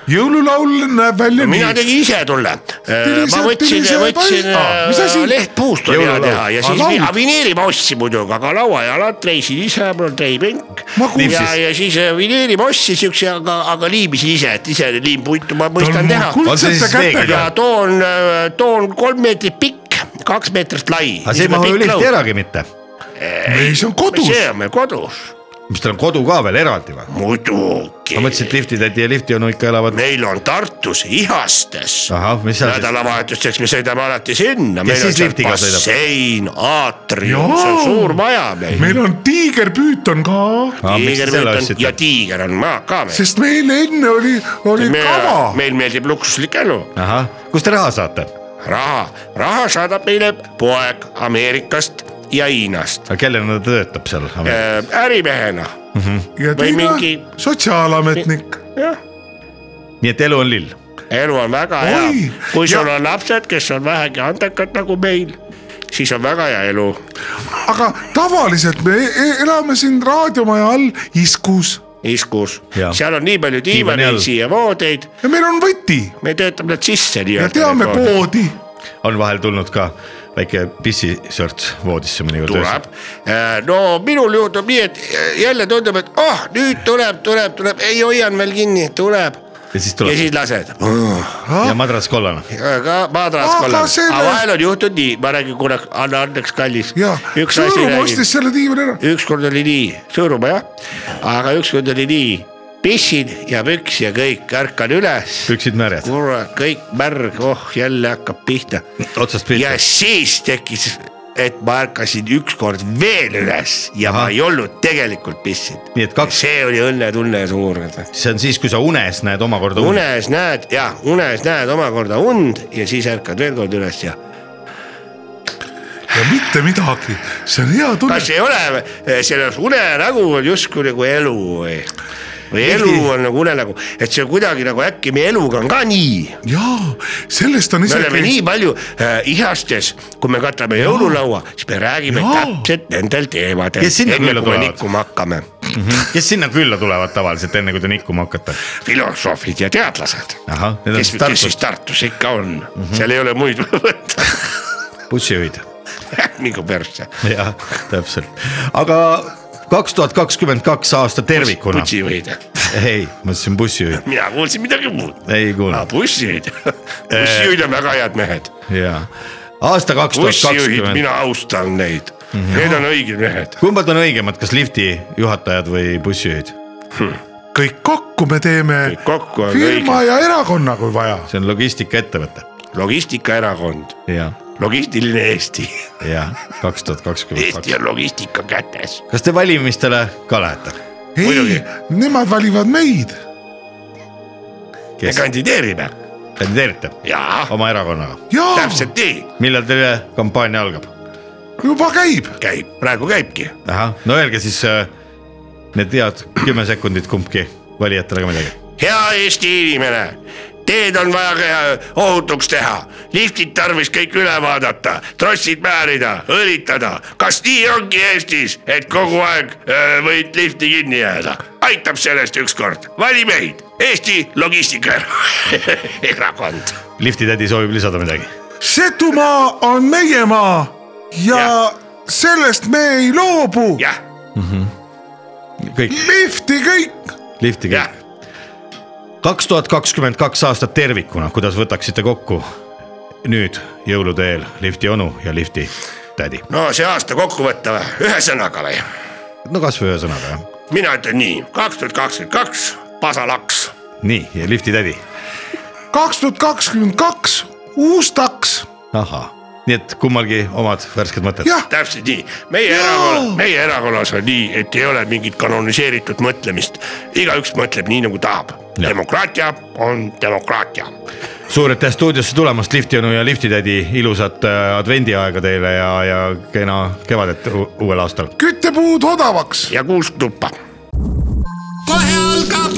[SPEAKER 6] jõululaul näeb välja
[SPEAKER 5] mina
[SPEAKER 6] nii .
[SPEAKER 5] tegin ise tulle , ma
[SPEAKER 6] ise-
[SPEAKER 5] võtsin
[SPEAKER 6] tuli , ise
[SPEAKER 5] võtsin
[SPEAKER 6] pai- Aa, mis asi?
[SPEAKER 5] äh, lehtpuust oli hea
[SPEAKER 4] Jõululaud.
[SPEAKER 5] teha ja
[SPEAKER 6] Aa,
[SPEAKER 5] siis
[SPEAKER 6] laud.
[SPEAKER 5] vi- vineeri ma ostsin muidugi , aga lauajalad treisin ise , mul on treipink . ja ,
[SPEAKER 4] Lipsis.
[SPEAKER 5] ja siis äh, vineeri ma ostsin siukse , aga , aga liimisin ise , et ise liimpuitu ma mõistan teha .
[SPEAKER 4] On see
[SPEAKER 6] kuldsete
[SPEAKER 4] siis veega?
[SPEAKER 6] kätega
[SPEAKER 5] ja . too on , too on kolm meetrit pikk , kaks meetrit lai .
[SPEAKER 4] aga see ei mahu ju lifti äragi mitte .
[SPEAKER 6] ei , see on kodus .
[SPEAKER 5] see on meil kodus ,
[SPEAKER 4] mis teil on kodu ka veel eraldi või ?
[SPEAKER 5] muidugi
[SPEAKER 4] ma . mõtlesin , et liftitädi ja liftionu ikka elavad .
[SPEAKER 5] meil on Tartus Ihastes .
[SPEAKER 4] ahah , mis seal siis ,
[SPEAKER 5] nädalavahetuseks me sõidame alati sinna .
[SPEAKER 4] Kes siis liftiga sõidab?
[SPEAKER 5] bassein , aatrium ,
[SPEAKER 6] Jaa.
[SPEAKER 5] see on suur maja meil .
[SPEAKER 6] meil on tiigerpüüton ka ,
[SPEAKER 4] Aa, miks te selle ostsite?
[SPEAKER 5] ja tiiger on maa ka meil .
[SPEAKER 6] sest meil enne oli , oli
[SPEAKER 5] Me,
[SPEAKER 6] kava .
[SPEAKER 5] meil meeldib luksuslik elu ,
[SPEAKER 4] ahah , kust te raha saate ?
[SPEAKER 5] raha , raha saadab meile poeg Ameerikast ja Hiinast
[SPEAKER 4] aga kellena ta töötab seal ?
[SPEAKER 5] Äh, ärimehena ,
[SPEAKER 6] ja
[SPEAKER 5] või
[SPEAKER 6] teine
[SPEAKER 5] mingi-
[SPEAKER 6] mingi... sotsiaalametnik .
[SPEAKER 5] jah ,
[SPEAKER 4] nii et elu on lill .
[SPEAKER 5] elu on väga hea
[SPEAKER 6] Oi, ,
[SPEAKER 5] kui sul
[SPEAKER 6] ja-
[SPEAKER 5] on lapsed , kes on vähegi andekad nagu meil , siis on väga hea elu
[SPEAKER 6] aga tavaliselt me e- e- elame siin raadiomaja all iskus
[SPEAKER 5] iskus
[SPEAKER 4] Jaa. ,
[SPEAKER 5] seal on nii palju
[SPEAKER 4] Diivani all.
[SPEAKER 5] diivaneid siia voodeid
[SPEAKER 6] ja meil on võti
[SPEAKER 5] me töötame need sisse
[SPEAKER 6] ja
[SPEAKER 5] nii-öelda .
[SPEAKER 6] teame . poodi .
[SPEAKER 4] on vahel tulnud ka väike pissisörts voodisse mõnikord
[SPEAKER 5] tuleb , no minul juhtub nii , et jälle tundub , et oh , nüüd tuleb , tuleb , tuleb , ei hoian veel kinni , tuleb .
[SPEAKER 4] ja siis
[SPEAKER 5] ja
[SPEAKER 4] tuleb
[SPEAKER 5] siis lased ,
[SPEAKER 4] ja madras kollane .
[SPEAKER 5] ka madras
[SPEAKER 6] Aga
[SPEAKER 5] kollas ,
[SPEAKER 6] selle-
[SPEAKER 5] aga vahel on juhtunud nii , ma räägin , kuule , anna andeks , kallis .
[SPEAKER 6] ja
[SPEAKER 5] üks asi
[SPEAKER 6] Sõõrumaa
[SPEAKER 5] räägin
[SPEAKER 6] ostis , selle diivani ära .
[SPEAKER 5] ükskord oli nii , Sõõrumaa jah , aga ükskord oli nii , pissin ja püks ja kõik , ärkan üles ,
[SPEAKER 4] püksid märjad ,
[SPEAKER 5] kurat , kõik märg , oh jälle hakkab pihta
[SPEAKER 4] otsast pihta
[SPEAKER 5] ja . siis tekkis , et ma ärkasin ükskord veel üles ja Aha. ma
[SPEAKER 4] Ahah.
[SPEAKER 5] ei olnud tegelikult pissinud .
[SPEAKER 4] nii et kaks ,
[SPEAKER 5] see oli õnnetunne suur .
[SPEAKER 4] see on siis , kui sa unes näed omakorda une .
[SPEAKER 5] unes näed ja unes näed omakorda und ja siis ärkad veel kord üles ja
[SPEAKER 6] ja mitte midagi , see on hea tunne
[SPEAKER 5] kas . ei ole , selles unenägu on justkui nagu elu või , või elu on nagu unenägu , et see on kuidagi nagu äkki meie eluga on ka nii
[SPEAKER 6] jaa , sellest on
[SPEAKER 5] me oleme
[SPEAKER 6] isegi .
[SPEAKER 5] nii palju äh, ihastes , kui me katame jõululaua , siis me räägime
[SPEAKER 6] Jaa.
[SPEAKER 5] ja. täpselt nendel teemadel .
[SPEAKER 4] Kes sinna
[SPEAKER 5] enne
[SPEAKER 4] külla
[SPEAKER 5] kui me
[SPEAKER 4] tulevad?
[SPEAKER 5] nikkuma hakkame ,
[SPEAKER 4] kes sinna külla tulevad tavaliselt , enne kui te nikkuma hakkate ?
[SPEAKER 5] filosoofid ja teadlased .
[SPEAKER 4] ahah , need on
[SPEAKER 5] kes ,
[SPEAKER 4] siis
[SPEAKER 5] kes siis
[SPEAKER 4] Tartus Mhm.
[SPEAKER 5] Tartus ikka on mm , -hmm. seal ei ole muid võtta ,
[SPEAKER 4] bussijuhid .
[SPEAKER 5] mingu persse .
[SPEAKER 4] jah , täpselt , aga kaks tuhat kakskümmend kaks aasta tervikuna ,
[SPEAKER 5] bussijuhid ,
[SPEAKER 4] ei , ma ütlesin bussijuhid ,
[SPEAKER 5] mina kuulsin midagi muud .
[SPEAKER 4] ei
[SPEAKER 5] aa ,
[SPEAKER 4] kuulnud
[SPEAKER 5] bussijuhid , bussijuhid on väga head mehed ,
[SPEAKER 4] ja aasta kaks tuhat
[SPEAKER 5] bussijuhid ,
[SPEAKER 4] kakskümmend , Mhm.
[SPEAKER 5] mina austan neid , need on õiged mehed .
[SPEAKER 4] kumbad on õigemad , kas lifti juhatajad või bussijuhid ?
[SPEAKER 6] kõik kokku me teeme
[SPEAKER 5] Kõik kokku on
[SPEAKER 6] firma
[SPEAKER 5] õige.
[SPEAKER 6] ja erakonna , kui vaja .
[SPEAKER 4] see on logistikaettevõte ,
[SPEAKER 5] logistikaerakond ,
[SPEAKER 4] ja ,
[SPEAKER 5] logistiline Eesti ,
[SPEAKER 4] ja kaks tuhat kakskümmend
[SPEAKER 5] Eesti
[SPEAKER 4] kaks .
[SPEAKER 5] on logistika kätes .
[SPEAKER 4] kas te valimistele ka lähete ?
[SPEAKER 6] ei
[SPEAKER 5] Muidugi. ,
[SPEAKER 6] nemad valivad meid .
[SPEAKER 5] me
[SPEAKER 4] kes Oh.
[SPEAKER 5] kandideerime
[SPEAKER 4] kandideerite
[SPEAKER 5] ja
[SPEAKER 4] oma erakonnaga ,
[SPEAKER 6] jaa ,
[SPEAKER 5] täpselt nii
[SPEAKER 4] millal teie kampaania algab ?
[SPEAKER 6] juba käib .
[SPEAKER 5] käib , praegu käibki ,
[SPEAKER 4] ahah , no öelge siis äh, need head kümme sekundit kumbki valijatele ka midagi .
[SPEAKER 5] hea Eesti inimene , teed on vaja ke- ohutuks teha , liftid tarvis kõik üle vaadata , trossid määrida , õlitada . kas nii ongi Eestis , et kogu aeg öö, võid lifti kinni jääda ? aitab sellest ükskord , vali meid , Eesti Logistika Erakond .
[SPEAKER 4] lifti tädi soovib lisada midagi .
[SPEAKER 6] Setumaa on meie maa ja,
[SPEAKER 5] Jah.
[SPEAKER 6] ja. sellest me ei loobu .
[SPEAKER 5] jah ,
[SPEAKER 4] kõik ,
[SPEAKER 6] lifti kõik .
[SPEAKER 4] lifti
[SPEAKER 5] jah
[SPEAKER 4] kõik ., kaks tuhat kakskümmend kaks aastat tervikuna , kuidas võtaksite kokku nüüd jõulude eel lifti onu ja lifti tädi ?
[SPEAKER 5] no see aasta kokku võtta või , ühesõnaga või ?
[SPEAKER 4] no kasvõi ühesõnaga jah .
[SPEAKER 5] mina ütlen nii , kaks tuhat kakskümmend kaks , pasalaks
[SPEAKER 4] nii , ja lifti tädi ,
[SPEAKER 6] kaks tuhat kakskümmend kaks , uus taks ,
[SPEAKER 4] ahah , nii et kummalgi omad värsked mõtted .
[SPEAKER 6] jah ,
[SPEAKER 5] täpselt nii , meie erakonna , meie erakonnas on nii , et ei ole mingit kanoniseeritud mõtlemist , igaüks mõtleb nii nagu tahab . demokraatia on demokraatia .
[SPEAKER 4] suur aitäh stuudiosse tulemast , lifti onu ja lifti tädi , ilusat äh, advendiaega teile ja , ja kena kevadet u- uuel aastal .
[SPEAKER 6] küttepuud odavaks .
[SPEAKER 5] ja kuusk tuppa .
[SPEAKER 1] kohe algab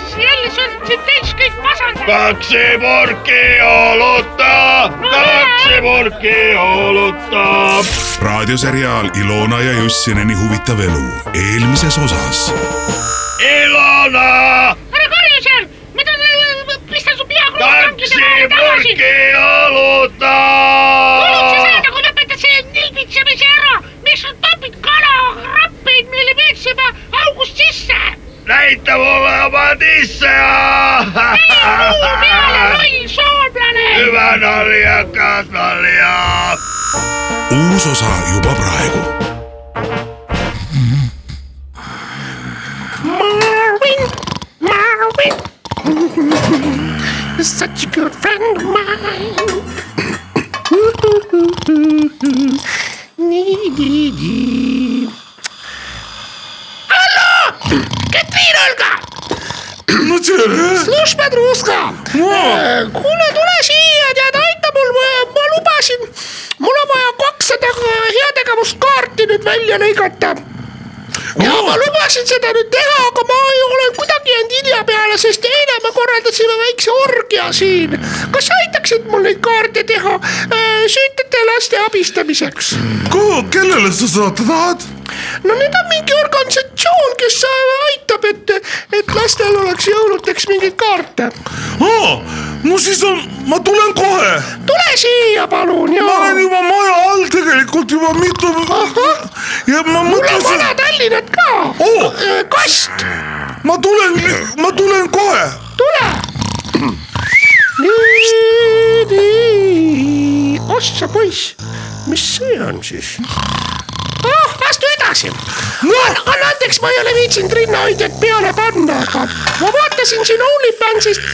[SPEAKER 7] see jälle , sul on siin täis kõik masendab .
[SPEAKER 6] raadioseriaal Ilona ja Jussineni huvitav elu eelmises osas .
[SPEAKER 7] ära karju seal , ma tahan , pistan su pea klappi tagasi . kuulid sa seda , kui lõpetad selle nilbitsemise ära , miks sa topid kalakrappeid meile veetsema august sisse ?
[SPEAKER 5] näita mulle oma tisse .
[SPEAKER 7] puu peale , loll soomlane .
[SPEAKER 5] hüva naljakas nalja .
[SPEAKER 6] uus osa juba praegu .
[SPEAKER 7] Marvin , Marvin , such a good friend of mine . nii . hallo , Katrin Olga .
[SPEAKER 6] no tere ,
[SPEAKER 7] Luš Madruska , kuule , tule siia , tead , aita mul , ma lubasin , mul on vaja äh, kakssada heategevuskaarti nüüd välja lõigata ja ma lubasin seda nüüd teha , aga ma ei ole kuidagi jäänud hilja peale , sest eile me korraldasime väikse orgia siin . kas sa aitaksid mul neid kaarte teha äh, süütute laste abistamiseks ?
[SPEAKER 6] kuhu , kellele sa saata tahad ?
[SPEAKER 7] no nüüd on mingi organisatsioon , kes aitab , et , et lastel oleks jõuludeks mingeid kaarte .
[SPEAKER 6] aa , no siis on , ma tulen kohe .
[SPEAKER 7] tule siia , palun ja
[SPEAKER 6] ma . olen juba maja all tegelikult juba mitu . ja ma
[SPEAKER 7] mul on
[SPEAKER 6] mõtlesin ,
[SPEAKER 7] Vana-Tallinnat ka
[SPEAKER 6] Oo.
[SPEAKER 7] Äh, kast ,
[SPEAKER 6] ma tulen , ma tulen kohe .
[SPEAKER 7] tule . nii , nii , ossa poiss , mis see on siis ? oh , astu edasi no. . anna andeks , ma ei ole viitsinud rinnahoidjat peale panna , aga ma vaatasin siin OnlyFansist .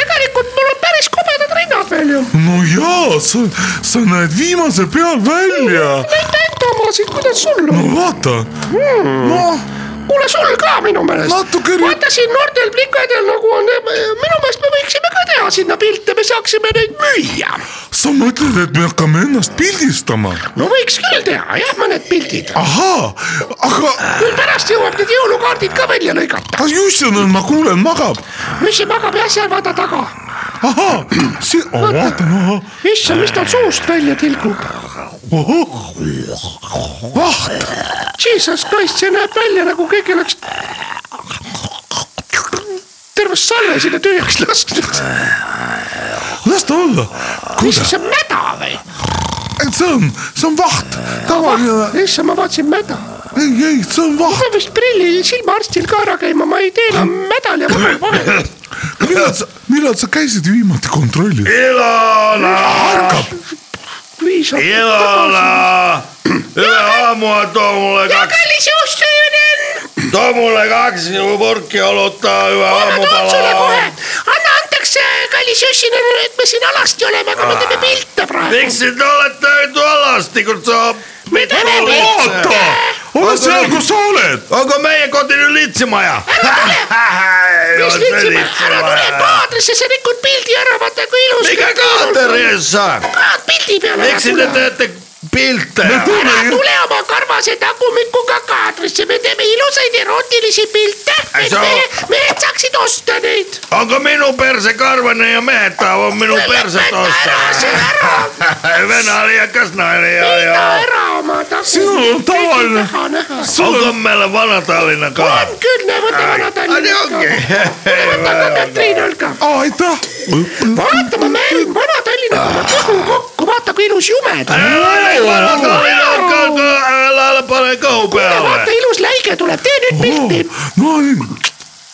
[SPEAKER 7] tegelikult mul on päris kobedad rinnad veel ju .
[SPEAKER 6] no jaa , sa , sa näed viimase peal välja .
[SPEAKER 7] näita enda omasid , kuidas sul on Hmm.
[SPEAKER 6] no ? vaata , noh ,
[SPEAKER 7] kuule , sul ka minu meelest .
[SPEAKER 6] Natuke ri-
[SPEAKER 7] vaata siin noortel plikadel nagu on , minu meelest me võiksime ka teha sinna pilte , me saaksime neid müüa .
[SPEAKER 6] sa mõtled , et me hakkame ennast pildistama ?
[SPEAKER 7] no võiks küll teha jah , mõned pildid .
[SPEAKER 6] ahaa , aga ,
[SPEAKER 7] küll pärast jõuab need jõulukaardid ka välja lõigata .
[SPEAKER 6] aga Jussil on , ma kuulen , magab .
[SPEAKER 7] mis see magab jah seal vaata taga .
[SPEAKER 6] ahaa , see , vaata noh ,
[SPEAKER 7] issand , mis tal suust välja tilgub .
[SPEAKER 6] vaht ,
[SPEAKER 7] Jesus Christ , see näeb välja nagu keegi oleks terve salve sinna tühjaks lasknud .
[SPEAKER 5] Äh,
[SPEAKER 6] las ta olla .
[SPEAKER 7] mis
[SPEAKER 6] kuidas ,
[SPEAKER 7] see on mäda või ?
[SPEAKER 6] see on , see on vaht , tavaline ,
[SPEAKER 7] issand , ma vaatasin mäda
[SPEAKER 6] ei , ei , see on vaht .
[SPEAKER 7] pean vist prilli silmaarstil ka ära käima , ma ei tee enam mädal ja vahel , vahel .
[SPEAKER 6] millal sa , millal sa käisid viimati kontrollil ?
[SPEAKER 5] Ilona ,
[SPEAKER 10] viis aastat .
[SPEAKER 5] Ilona , üle aamua too mulle kaks ,
[SPEAKER 10] kallis juustujõen ,
[SPEAKER 5] too mulle niinku kaks purki õlut , ühe
[SPEAKER 10] ma toon sulle kohe
[SPEAKER 5] aamupala ..
[SPEAKER 10] anna andeks , kallis juustujõen , et me siin alasti oleme , aga me teeme pilte praegu .
[SPEAKER 5] Ah. miks te olete nüüd valastikud , saab .
[SPEAKER 10] me teeme pilte .
[SPEAKER 6] ole seal , kus sa oled .
[SPEAKER 5] aga meie kodi on litsimaja .
[SPEAKER 10] mis nüüd siin , ära tule kaadrisse , sa rikud pildi ära , vaata kui ilus .
[SPEAKER 5] ega kaader ees saa ,
[SPEAKER 10] kaad pildi peale .
[SPEAKER 5] miks te teete pilte ?
[SPEAKER 10] ära No tule oma karvase tagumikuga kaadrisse , me teeme ilusaid erootilisi pilte ,
[SPEAKER 5] Ei
[SPEAKER 10] et
[SPEAKER 5] saa.
[SPEAKER 10] mehed , mehed saaksid osta neid .
[SPEAKER 5] aga minu perse karvane ja mehed tahavad minu perset
[SPEAKER 10] lõpeta ära see
[SPEAKER 5] osta .
[SPEAKER 10] ära ,
[SPEAKER 5] venaliakas naine ja ,
[SPEAKER 10] pida
[SPEAKER 5] ja .
[SPEAKER 10] ära oma tagumik . sinul on tavaline .
[SPEAKER 5] aga meil on Vana-Tallinna ka .
[SPEAKER 10] on küll , näe võta vana Tallinna .
[SPEAKER 5] niin
[SPEAKER 10] võta ka Katriinal ka .
[SPEAKER 6] aitäh .
[SPEAKER 10] vaata , ma mängin vana Tallinnaga oma
[SPEAKER 5] Ah.
[SPEAKER 10] kõhu kokku , vaata kui ilus jume ta on .
[SPEAKER 5] Vana-Tallinna ka , ära ära pane kõhu peale .
[SPEAKER 10] vaata , ilus läige tuleb , tee nüüd pilti .
[SPEAKER 6] no nii ,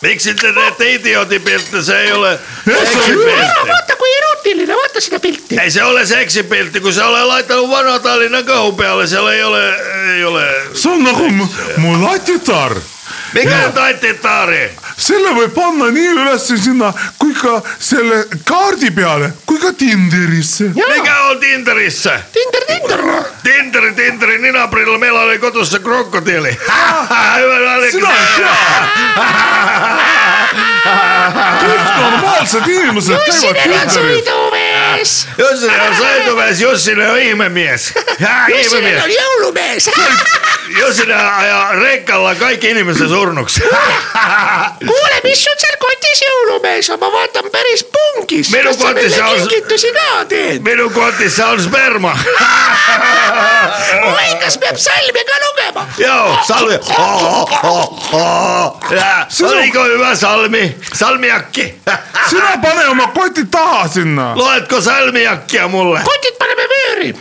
[SPEAKER 5] miks te teete idioodi pilte , see ei ole
[SPEAKER 10] ära
[SPEAKER 5] seksipilti .
[SPEAKER 10] vaata , kui erootiline , vaata seda pilti .
[SPEAKER 5] ei , see ei ole seksipilti , kui sa oled laitanud Vana-Tallinna kõhu peale , seal ei ole , ei ole .
[SPEAKER 6] see on nagu mu, mu latitar .
[SPEAKER 5] mikä taititaari ?
[SPEAKER 6] selle võib panna nii üles sinna kui ka selle kaardi peale , kui ka Tinderisse .
[SPEAKER 5] mikä on Tinderissä ?
[SPEAKER 10] Tinder , Tinder , noh .
[SPEAKER 5] Tinderi , Tinderi ninaprilla , niin meillä oli kotossa krokotiili . Hyvä oli.
[SPEAKER 6] sina ei tea . kõik normaalsed inimesed käivad
[SPEAKER 10] sinna on
[SPEAKER 6] Tinderis .
[SPEAKER 10] sõidumees .
[SPEAKER 5] Jussi on saitumees , Jussinen on ihmemies . Hää
[SPEAKER 10] sinna
[SPEAKER 5] ihmemies .
[SPEAKER 10] on jõulumees . Ah,
[SPEAKER 5] Jussinen ajaa rekkalla kaikki ihmiset surnuksi .
[SPEAKER 10] kuule , mis sul seal kotis jõulumees on , ma vaatan päris pungis .
[SPEAKER 5] Minu
[SPEAKER 10] kas sa
[SPEAKER 5] kotis
[SPEAKER 10] meile
[SPEAKER 5] on-
[SPEAKER 10] kingitusi ka teed ?
[SPEAKER 5] Minun kotissa on sperma .
[SPEAKER 10] oi , kas peab salmi ka lugema ?
[SPEAKER 5] Joo , salmi . Jää, Oliko hyvä salmi ? salmiakki .
[SPEAKER 6] sina pane oma koti taha sinna .
[SPEAKER 5] Luetko salmiakkia mulle ?
[SPEAKER 10] kotid paneme vööri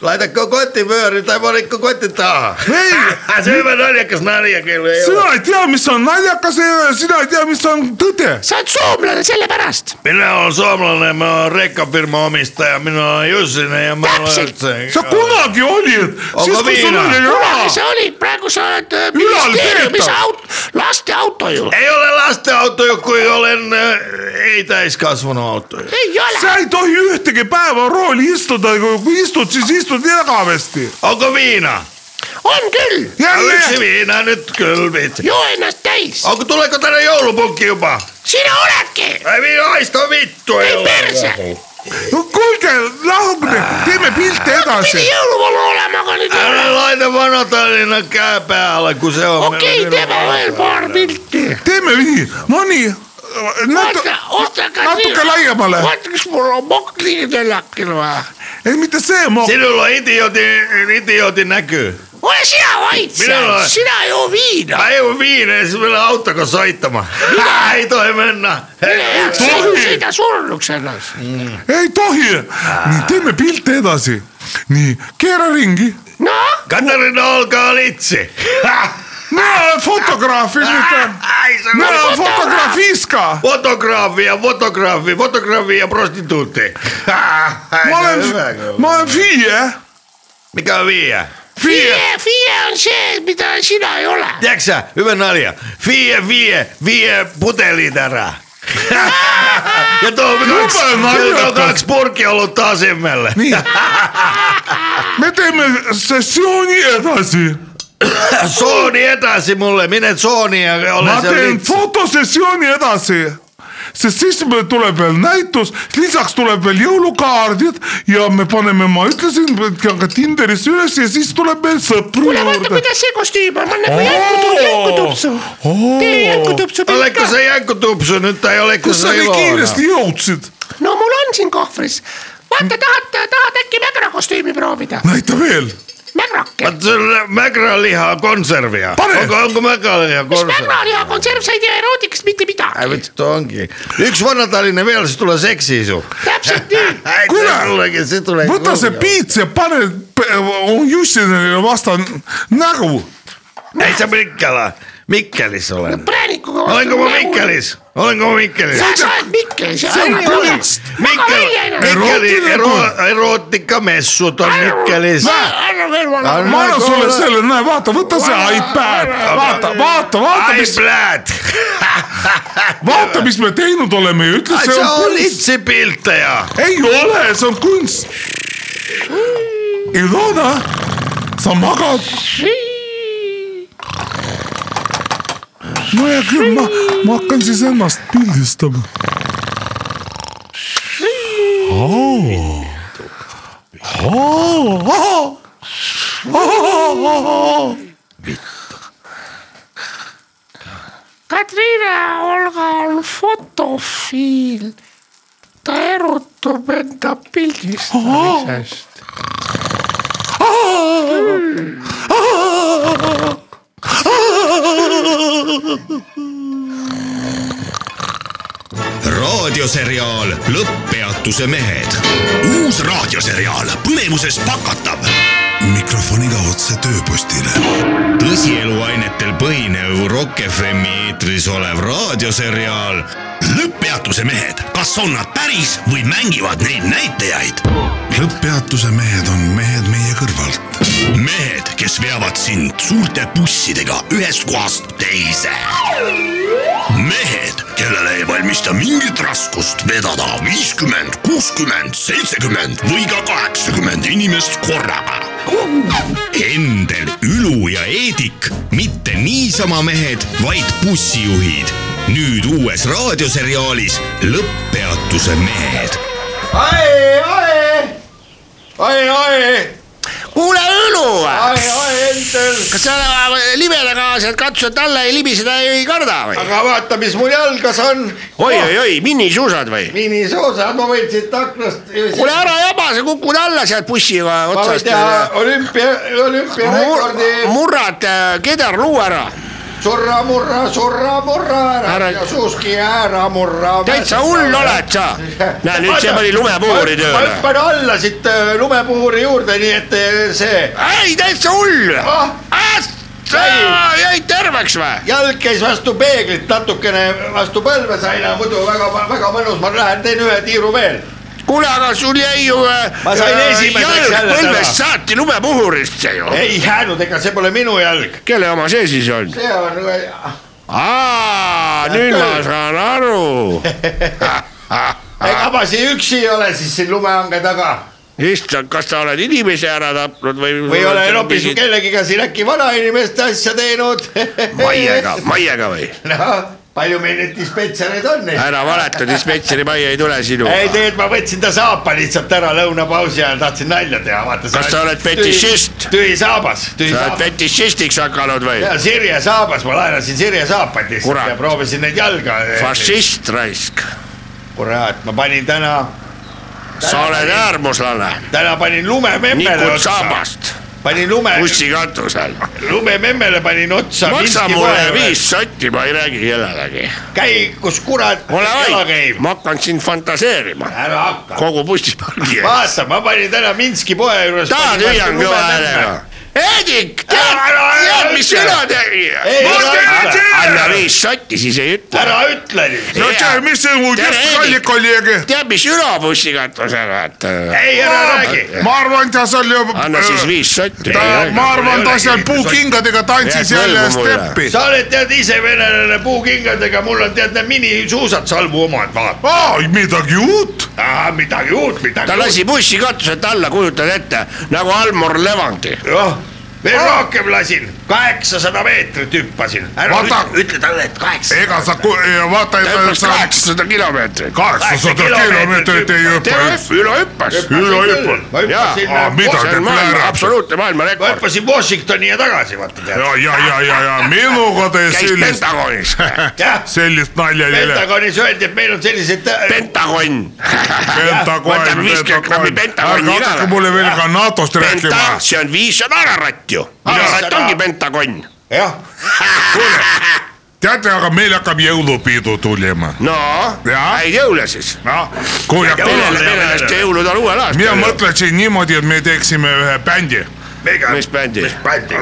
[SPEAKER 5] Laitatko kotipyöri tai monikko kotti taha? Hei! Se on hyvä naljakas naljakin. ei ole.
[SPEAKER 6] sina ei tea , mis on naljakas ja sina ei tea , mis on tõde .
[SPEAKER 10] sa oled soomlane sellepärast .
[SPEAKER 5] Minä olen suomalainen, mä olen rekkafirman omistaja, minä olen Jussinen ja mä olen...
[SPEAKER 10] Täpselt.
[SPEAKER 6] sa kunagi olid , siis kui sul
[SPEAKER 5] viina?
[SPEAKER 6] oli
[SPEAKER 10] kunagi
[SPEAKER 6] raha .
[SPEAKER 10] sa olid , praegu sa oled äh,
[SPEAKER 6] Ülal
[SPEAKER 10] ministeeriumis
[SPEAKER 6] peetav.
[SPEAKER 10] aut- , lasteauto ju .
[SPEAKER 5] Ei ole lastenautoja, kuin olen äh, ei täiskasvanut autoja.
[SPEAKER 10] ei ole ,
[SPEAKER 6] sa ei tohi ühtegi päeva rooli istuda , kui istud , siis istud igavesti .
[SPEAKER 5] Onko viina?
[SPEAKER 10] on küll ,
[SPEAKER 5] Yksi
[SPEAKER 6] jälle ,
[SPEAKER 5] viina nyt kylvit.
[SPEAKER 10] joo ennast täis ,
[SPEAKER 5] Onko tuleeko tänne joulupukki jopa?
[SPEAKER 10] sina oledki ,
[SPEAKER 5] Ei viina haista vittu.
[SPEAKER 10] ei
[SPEAKER 5] ole.
[SPEAKER 10] perse ,
[SPEAKER 6] kuulge , lahkune , teeme pilte edasi
[SPEAKER 10] pidi . jõuluvana olema , aga nüüd ei ole
[SPEAKER 5] Älä laita vanatalina käy päällä, kun se on...
[SPEAKER 10] okei , teeme veel paar pilti .
[SPEAKER 6] teeme nii , no nii .
[SPEAKER 10] oota , oota , aga
[SPEAKER 6] natuke laiemale.
[SPEAKER 10] vaata , kas mul on mokk liiga teljakil või ?
[SPEAKER 6] ei , mitte see , ma ,
[SPEAKER 5] Sinulla on idiotin, idiotin näkyy.
[SPEAKER 10] ole sina vait
[SPEAKER 5] Mina
[SPEAKER 10] seal
[SPEAKER 5] olen- ,
[SPEAKER 10] sina joo viina .
[SPEAKER 5] Ai on viinees vielä auttako soittamaan. Ei toi mennä.
[SPEAKER 6] tohi ,
[SPEAKER 10] sõida surnuks ennast .
[SPEAKER 6] ei tohi . nii , teeme pilte edasi . nii , keera ringi .
[SPEAKER 10] noh ,
[SPEAKER 5] Katarina olkaa litsi.
[SPEAKER 6] mina olen fotograaf , ütleme .
[SPEAKER 5] Ai se
[SPEAKER 6] mina olen fotograafist ka .
[SPEAKER 5] Fotografia, fotografia, fotografia ja prostituutti. Ai,
[SPEAKER 6] ma
[SPEAKER 5] se on
[SPEAKER 6] olen
[SPEAKER 5] hyvä kyllä. ,
[SPEAKER 6] ma olen FIE .
[SPEAKER 5] Mikä on viiä?
[SPEAKER 6] FIE ,
[SPEAKER 10] FIE , FIE on see , mida sina ei ole .
[SPEAKER 5] Tiedätkö sä, hyvä nalja. Viie, vie, vie putelitärä. Ja tuo on kaksi,
[SPEAKER 6] Hyvä nalja.
[SPEAKER 5] ja tuo on kaksi purkia ollut asemmelle.
[SPEAKER 6] nii . me teeme sessiooni edasi . Äh,
[SPEAKER 5] Sooni etäsi mulle, minä sooni ja
[SPEAKER 6] ma
[SPEAKER 5] olen se
[SPEAKER 6] teen
[SPEAKER 5] litsi.
[SPEAKER 6] fotosessiooni edasi sest siis meil tuleb veel näitus , lisaks tuleb veel jõulukaardid ja me paneme , ma ütlesin , ka Tinderisse üles ja siis tuleb meil sõpru
[SPEAKER 10] kuule , vaata ,
[SPEAKER 6] juurde .
[SPEAKER 10] kuidas see kostüüm on , ma nagu jänkutup- jänkutupsu , tee jänkutupsu pilt
[SPEAKER 5] Oletko
[SPEAKER 10] ka .
[SPEAKER 5] se jäkkutupsu nyt tai oletko
[SPEAKER 6] kus sa
[SPEAKER 5] se
[SPEAKER 6] nii
[SPEAKER 5] Ilona?
[SPEAKER 6] kiiresti jõudsid ?
[SPEAKER 10] no mul on siin kohvris . vaata , tahad , tahad äkki Mägra kostüümi proovida ?
[SPEAKER 6] näita veel .
[SPEAKER 10] Mägrake .
[SPEAKER 5] Vaat se on mägrälihaa konservia.
[SPEAKER 6] Pane!
[SPEAKER 5] Onko, onko mägrälihaa
[SPEAKER 10] mis
[SPEAKER 5] konservia?
[SPEAKER 10] Mägraliha konserv , sa ei tea erootikast mitte midagi .
[SPEAKER 5] Vittu onkin. Yksi vanatallinen vielä, se tulee seksiisu.
[SPEAKER 10] täpselt nii .
[SPEAKER 5] Äiti
[SPEAKER 6] Kuule!
[SPEAKER 5] Mullekin, se tulee
[SPEAKER 6] võta see
[SPEAKER 5] kurjaa.
[SPEAKER 6] piits ja pane pe- Jussinile vastu nägu .
[SPEAKER 5] Ei se mikkälä.
[SPEAKER 4] Mikkelis olen .
[SPEAKER 7] präänikuga .
[SPEAKER 4] olenko ma ? Mikkelis , olenko ma Mikkelis ?
[SPEAKER 7] sa sa oled Mikkel , sa
[SPEAKER 4] on
[SPEAKER 7] oled
[SPEAKER 4] kunst . Mikkel , Mikkeli ero- erootikamessud on Mikkelis .
[SPEAKER 7] anna veel vana .
[SPEAKER 6] ma annan sulle selle , näe , vaata , võta see iPad , vaata , vaata , vaata ,
[SPEAKER 4] I
[SPEAKER 6] mis ,
[SPEAKER 4] bled .
[SPEAKER 6] vaata , mis me teinud oleme ja ütle , see
[SPEAKER 4] sa
[SPEAKER 6] on
[SPEAKER 4] olid
[SPEAKER 6] kunst .
[SPEAKER 4] see piltaja .
[SPEAKER 6] ei ole , see on kunst . Ilona , sa magad . no hea küll , ma , ma hakkan siis ennast pildistama .
[SPEAKER 11] Katriina Olga on fotofiil . ta erutub enda pildist .
[SPEAKER 1] raadioseriaal Lõpppeatuse mehed . uus raadioseriaal põnevuses pakatav . mikrofoniga otse tööpostile . tõsieluainetel põhinev Rock FM-i eetris olev raadioseriaal Lõpppeatuse mehed , kas on nad päris või mängivad neid näitajaid ? lõpppeatuse mehed on mehed meie kõrvalt . mehed , kes veavad sind suurte bussidega ühest kohast teise mehed , kellele ei valmista mingit raskust vedada viiskümmend , kuuskümmend , seitsekümmend või ka kaheksakümmend inimest korraga . Endel , Ülu ja Eedik , mitte niisama mehed , vaid bussijuhid . nüüd uues raadioseriaalis Lõpppeatuse mehed .
[SPEAKER 10] ai , ai , ai , ai ,
[SPEAKER 5] kuule , Õlu ,
[SPEAKER 10] ai , ai , Endel ,
[SPEAKER 5] kas sa oma libedaga sealt katused alla ei libiseda ei karda või ?
[SPEAKER 10] aga vaata , mis mul jalgas on .
[SPEAKER 5] oi-oi-oi , minisuusad või ?
[SPEAKER 10] minisoosad , ma võin siit aknast .
[SPEAKER 5] kuule , ära jaba , sa kukud alla sealt bussi
[SPEAKER 10] ma võin
[SPEAKER 5] otsast .
[SPEAKER 10] teha olümpia , olümpiarekordi Mur... .
[SPEAKER 5] murrad äh, kedarluu ära ,
[SPEAKER 10] surra , murra , surra , murra
[SPEAKER 5] Ära-
[SPEAKER 10] ära, ära... ja suuski ära murra .
[SPEAKER 5] täitsa hull oled sa . näe nüüd see pani lumepuhuri
[SPEAKER 10] ma
[SPEAKER 5] tööle .
[SPEAKER 10] hüppan alla siit äh, lumepuhuri juurde , nii et äh, see
[SPEAKER 5] ei , täitsa hull .
[SPEAKER 10] ah,
[SPEAKER 5] jäid terveks või ?
[SPEAKER 10] jalg käis vastu peeglit natukene vastu põlve sai , muidu väga , väga mõnus , ma lähen teen ühe tiiru veel .
[SPEAKER 5] kuule , aga sul jäi ju .
[SPEAKER 10] Ma sain esimeseks jälle
[SPEAKER 5] põlvest
[SPEAKER 10] täna.
[SPEAKER 5] saati lumepuhurisse ju .
[SPEAKER 10] ei jäänud , ega see pole minu jalg .
[SPEAKER 5] kelle oma see siis on ?
[SPEAKER 10] see on ,
[SPEAKER 5] aa , nüüd ma saan aru .
[SPEAKER 10] ega ma siin üksi ei ole siis siin lumehange taga
[SPEAKER 5] issand , kas sa oled inimese ära tapnud või ?
[SPEAKER 10] või olen hoopis kellegiga siin äkki vanainimeste asja teinud .
[SPEAKER 5] maiega , maiega või ?
[SPEAKER 10] noh , palju meil neid dispetšereid on ?
[SPEAKER 5] ära valeta , dispetšeri majja ei tule sinu .
[SPEAKER 10] ei , tegelikult ma võtsin ta saapa lihtsalt ära lõunapausi ajal , tahtsin nalja teha , vaata .
[SPEAKER 5] Kas sa oled fetišist?
[SPEAKER 10] tühi saabas , tühi
[SPEAKER 5] sa oled
[SPEAKER 10] saabas .
[SPEAKER 5] fetišistiks hakanud või ?
[SPEAKER 10] ja Sirje saabas , ma laenasin Sirje saapaid
[SPEAKER 5] Kurat.
[SPEAKER 10] lihtsalt ja proovisin neid jalga .
[SPEAKER 5] fašist raisk ,
[SPEAKER 10] kurat , ma panin täna ,
[SPEAKER 5] sa oled äärmuslane ,
[SPEAKER 10] täna panin lumememmele
[SPEAKER 5] nikud
[SPEAKER 10] otsa ,
[SPEAKER 5] saabast ,
[SPEAKER 10] panin lume ,
[SPEAKER 5] bussikatusel .
[SPEAKER 10] lumememmele panin otsa .
[SPEAKER 5] maksa mulle . viis sotti , ma ei räägi kellelegi .
[SPEAKER 10] käi , kus kurat
[SPEAKER 5] ole
[SPEAKER 10] jala
[SPEAKER 5] vait
[SPEAKER 10] käib ,.
[SPEAKER 5] ma hakkan sind fantaseerima ,
[SPEAKER 10] ära hakka .
[SPEAKER 5] kogu bussipargi ees .
[SPEAKER 10] vaata , ma panin täna Minski poe juures .
[SPEAKER 5] tahad hüüan kõva
[SPEAKER 6] noh?
[SPEAKER 5] häälega ? Eedik , tead
[SPEAKER 10] Ära, ära, , ära
[SPEAKER 5] tead , mis
[SPEAKER 10] ütle.
[SPEAKER 5] sina tegid ?
[SPEAKER 10] Ei, ära ütle.
[SPEAKER 5] anna viis sotti , siis ei ütle .
[SPEAKER 10] ära ütle nüüd .
[SPEAKER 6] no tea , mis see mu
[SPEAKER 5] Tere,
[SPEAKER 6] just
[SPEAKER 5] Heidik.
[SPEAKER 6] kalli kolleeg ,
[SPEAKER 5] tead , mis ülo bussikatusel , vaata .
[SPEAKER 10] ei , ära räägi .
[SPEAKER 6] ma arvan , ta seal ju . äh,
[SPEAKER 5] anna siis viis sotti .
[SPEAKER 6] ta , ma arvan , ta seal puukingadega tantsis
[SPEAKER 5] Jääb
[SPEAKER 6] jälle
[SPEAKER 5] võlgu mulle.
[SPEAKER 6] steppi .
[SPEAKER 10] sa oled tead ise venelane puukingadega , mul on tead need minisuusad Salmu omad , vaata .
[SPEAKER 6] aa , midagi uut .
[SPEAKER 10] midagi uut , midagi
[SPEAKER 5] ta
[SPEAKER 10] uut .
[SPEAKER 5] lasi bussi katuselt alla , kujutad ette , nagu Almor Levandi .
[SPEAKER 10] jah , Noh, veel rohkem lasin , kaheksasada meetrit hüppasin . ära
[SPEAKER 6] Vaata-
[SPEAKER 10] ütle , ütle talle , et kaheksasada .
[SPEAKER 6] ega sa ,
[SPEAKER 5] ta
[SPEAKER 6] vaata ,
[SPEAKER 5] hüppas
[SPEAKER 6] sa
[SPEAKER 5] kaheksasada kilomeetrit .
[SPEAKER 6] kaheksasada kilomeetrit ei hüppa
[SPEAKER 5] tema
[SPEAKER 6] üldse .
[SPEAKER 5] üle hüppas .
[SPEAKER 6] Ülo hüppas.
[SPEAKER 10] ma hüppasin
[SPEAKER 6] Jaa, aa, , mida
[SPEAKER 5] see
[SPEAKER 6] te
[SPEAKER 5] on maailma ,
[SPEAKER 6] pläärate?
[SPEAKER 5] absoluutne
[SPEAKER 10] ma
[SPEAKER 5] maailmarekord .
[SPEAKER 10] hüppasin Washingtoni ja tagasi , vaata tead .
[SPEAKER 6] ja , ja , ja , ja , ja minuga te
[SPEAKER 5] käis
[SPEAKER 6] sellist ,
[SPEAKER 5] Pentagonis ,
[SPEAKER 10] jah ,
[SPEAKER 6] sellist nalja ei tee .
[SPEAKER 10] Pentagonis öeldi , et meil on sellised .
[SPEAKER 5] Pentagon .
[SPEAKER 6] Pentagon ,
[SPEAKER 5] võtame viiskümmend grammi
[SPEAKER 6] ärge
[SPEAKER 5] Pentagoni
[SPEAKER 6] hakake
[SPEAKER 5] igale .
[SPEAKER 6] mulle veel ka NATO-st rääkima .
[SPEAKER 5] Penta , see on viis , see on Ararat ju . Ararat
[SPEAKER 10] Viissada.
[SPEAKER 5] ongi Pentagon .
[SPEAKER 10] jah ,
[SPEAKER 6] teate , aga meil hakkab jõulupidu tulema .
[SPEAKER 5] no ,
[SPEAKER 6] Jaa.
[SPEAKER 5] häid jõule siis .
[SPEAKER 6] noh , kui hakkab
[SPEAKER 5] perele , pereleste jõulud on uuel aastal .
[SPEAKER 6] mina mõtlesin niimoodi , et me teeksime ühe bändi .
[SPEAKER 5] mis bändi ?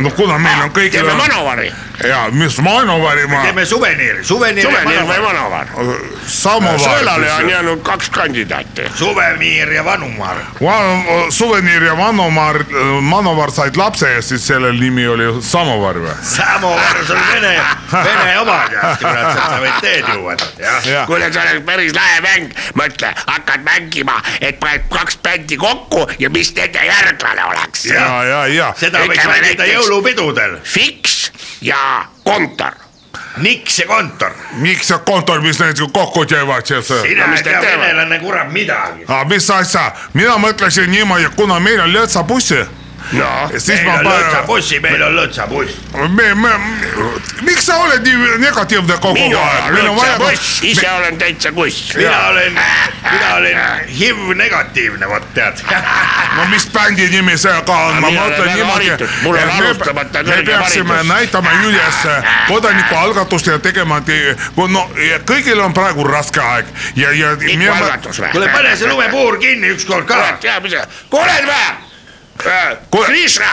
[SPEAKER 6] no kuna meil on kõigil
[SPEAKER 5] teeme
[SPEAKER 6] on
[SPEAKER 5] Manovari ,
[SPEAKER 6] ja mis Manovari
[SPEAKER 5] Ah.
[SPEAKER 6] ma ,
[SPEAKER 10] teeme suveniiri ,
[SPEAKER 5] Suveniir
[SPEAKER 10] suveniiri
[SPEAKER 5] või , Manovar . sõelale on
[SPEAKER 6] samovar ,
[SPEAKER 5] jäänud kaks kandidaati .
[SPEAKER 10] suveniir ja vanumaar .
[SPEAKER 6] suveniir ja Manovar , Manovar said lapse ja siis sellel nimi oli samovar või ?
[SPEAKER 10] samovar , see on vene , vene oma tead , kurat , sealt sa võid teed juua , jah .
[SPEAKER 5] kuule , see oleks päris lahe mäng , mõtle , hakkad mängima , et paned kaks bändi kokku ja mis nende järglane oleks .
[SPEAKER 6] ja , ja , ja
[SPEAKER 10] seda võiks
[SPEAKER 5] Ütleme
[SPEAKER 10] mängida
[SPEAKER 5] näiteks-
[SPEAKER 10] jõulupidudel ,
[SPEAKER 5] Fiks ja Kontor .
[SPEAKER 10] Niks ja kontor .
[SPEAKER 6] miks see kontor , mis need ju kokku teevad siis ?
[SPEAKER 10] sina
[SPEAKER 5] No mis
[SPEAKER 10] ei
[SPEAKER 5] te
[SPEAKER 10] tea
[SPEAKER 5] teevad?
[SPEAKER 10] venelane kurat midagi .
[SPEAKER 6] aga mis asja , mina mõtlesin niimoodi , kuna meil on Lõtsa bussi ,
[SPEAKER 5] noh ,
[SPEAKER 6] siis
[SPEAKER 10] Ah, meil
[SPEAKER 6] ma
[SPEAKER 10] on
[SPEAKER 6] panen ,
[SPEAKER 10] lõtsabussi , meil on lõtsabuss .
[SPEAKER 6] me , me , miks sa oled nii negatiivne kogu
[SPEAKER 5] mina
[SPEAKER 6] aeg , meil
[SPEAKER 5] olen
[SPEAKER 6] on vaja
[SPEAKER 5] see , kuss , ise olen täitsa kuss .
[SPEAKER 10] mina olen , mina olen HIV negatiivne , vot tead .
[SPEAKER 6] no mis bändi nimi see ka on , ma
[SPEAKER 5] mina olen
[SPEAKER 6] mõtlen
[SPEAKER 5] väga
[SPEAKER 6] niimoodi
[SPEAKER 5] haritud, mul on , alustamata
[SPEAKER 6] me
[SPEAKER 5] kõrgem
[SPEAKER 6] peaksime
[SPEAKER 5] haridus.
[SPEAKER 6] näitama üles kodanikualgatust ja tegema , no ja kõigil on praegu raske aeg ja , ja
[SPEAKER 5] ikka algatus
[SPEAKER 10] kuule ,
[SPEAKER 5] või ?
[SPEAKER 10] pane see lumepuur kinni ükskord ka .
[SPEAKER 5] tea , mis see , kuuled või ? Krišna ,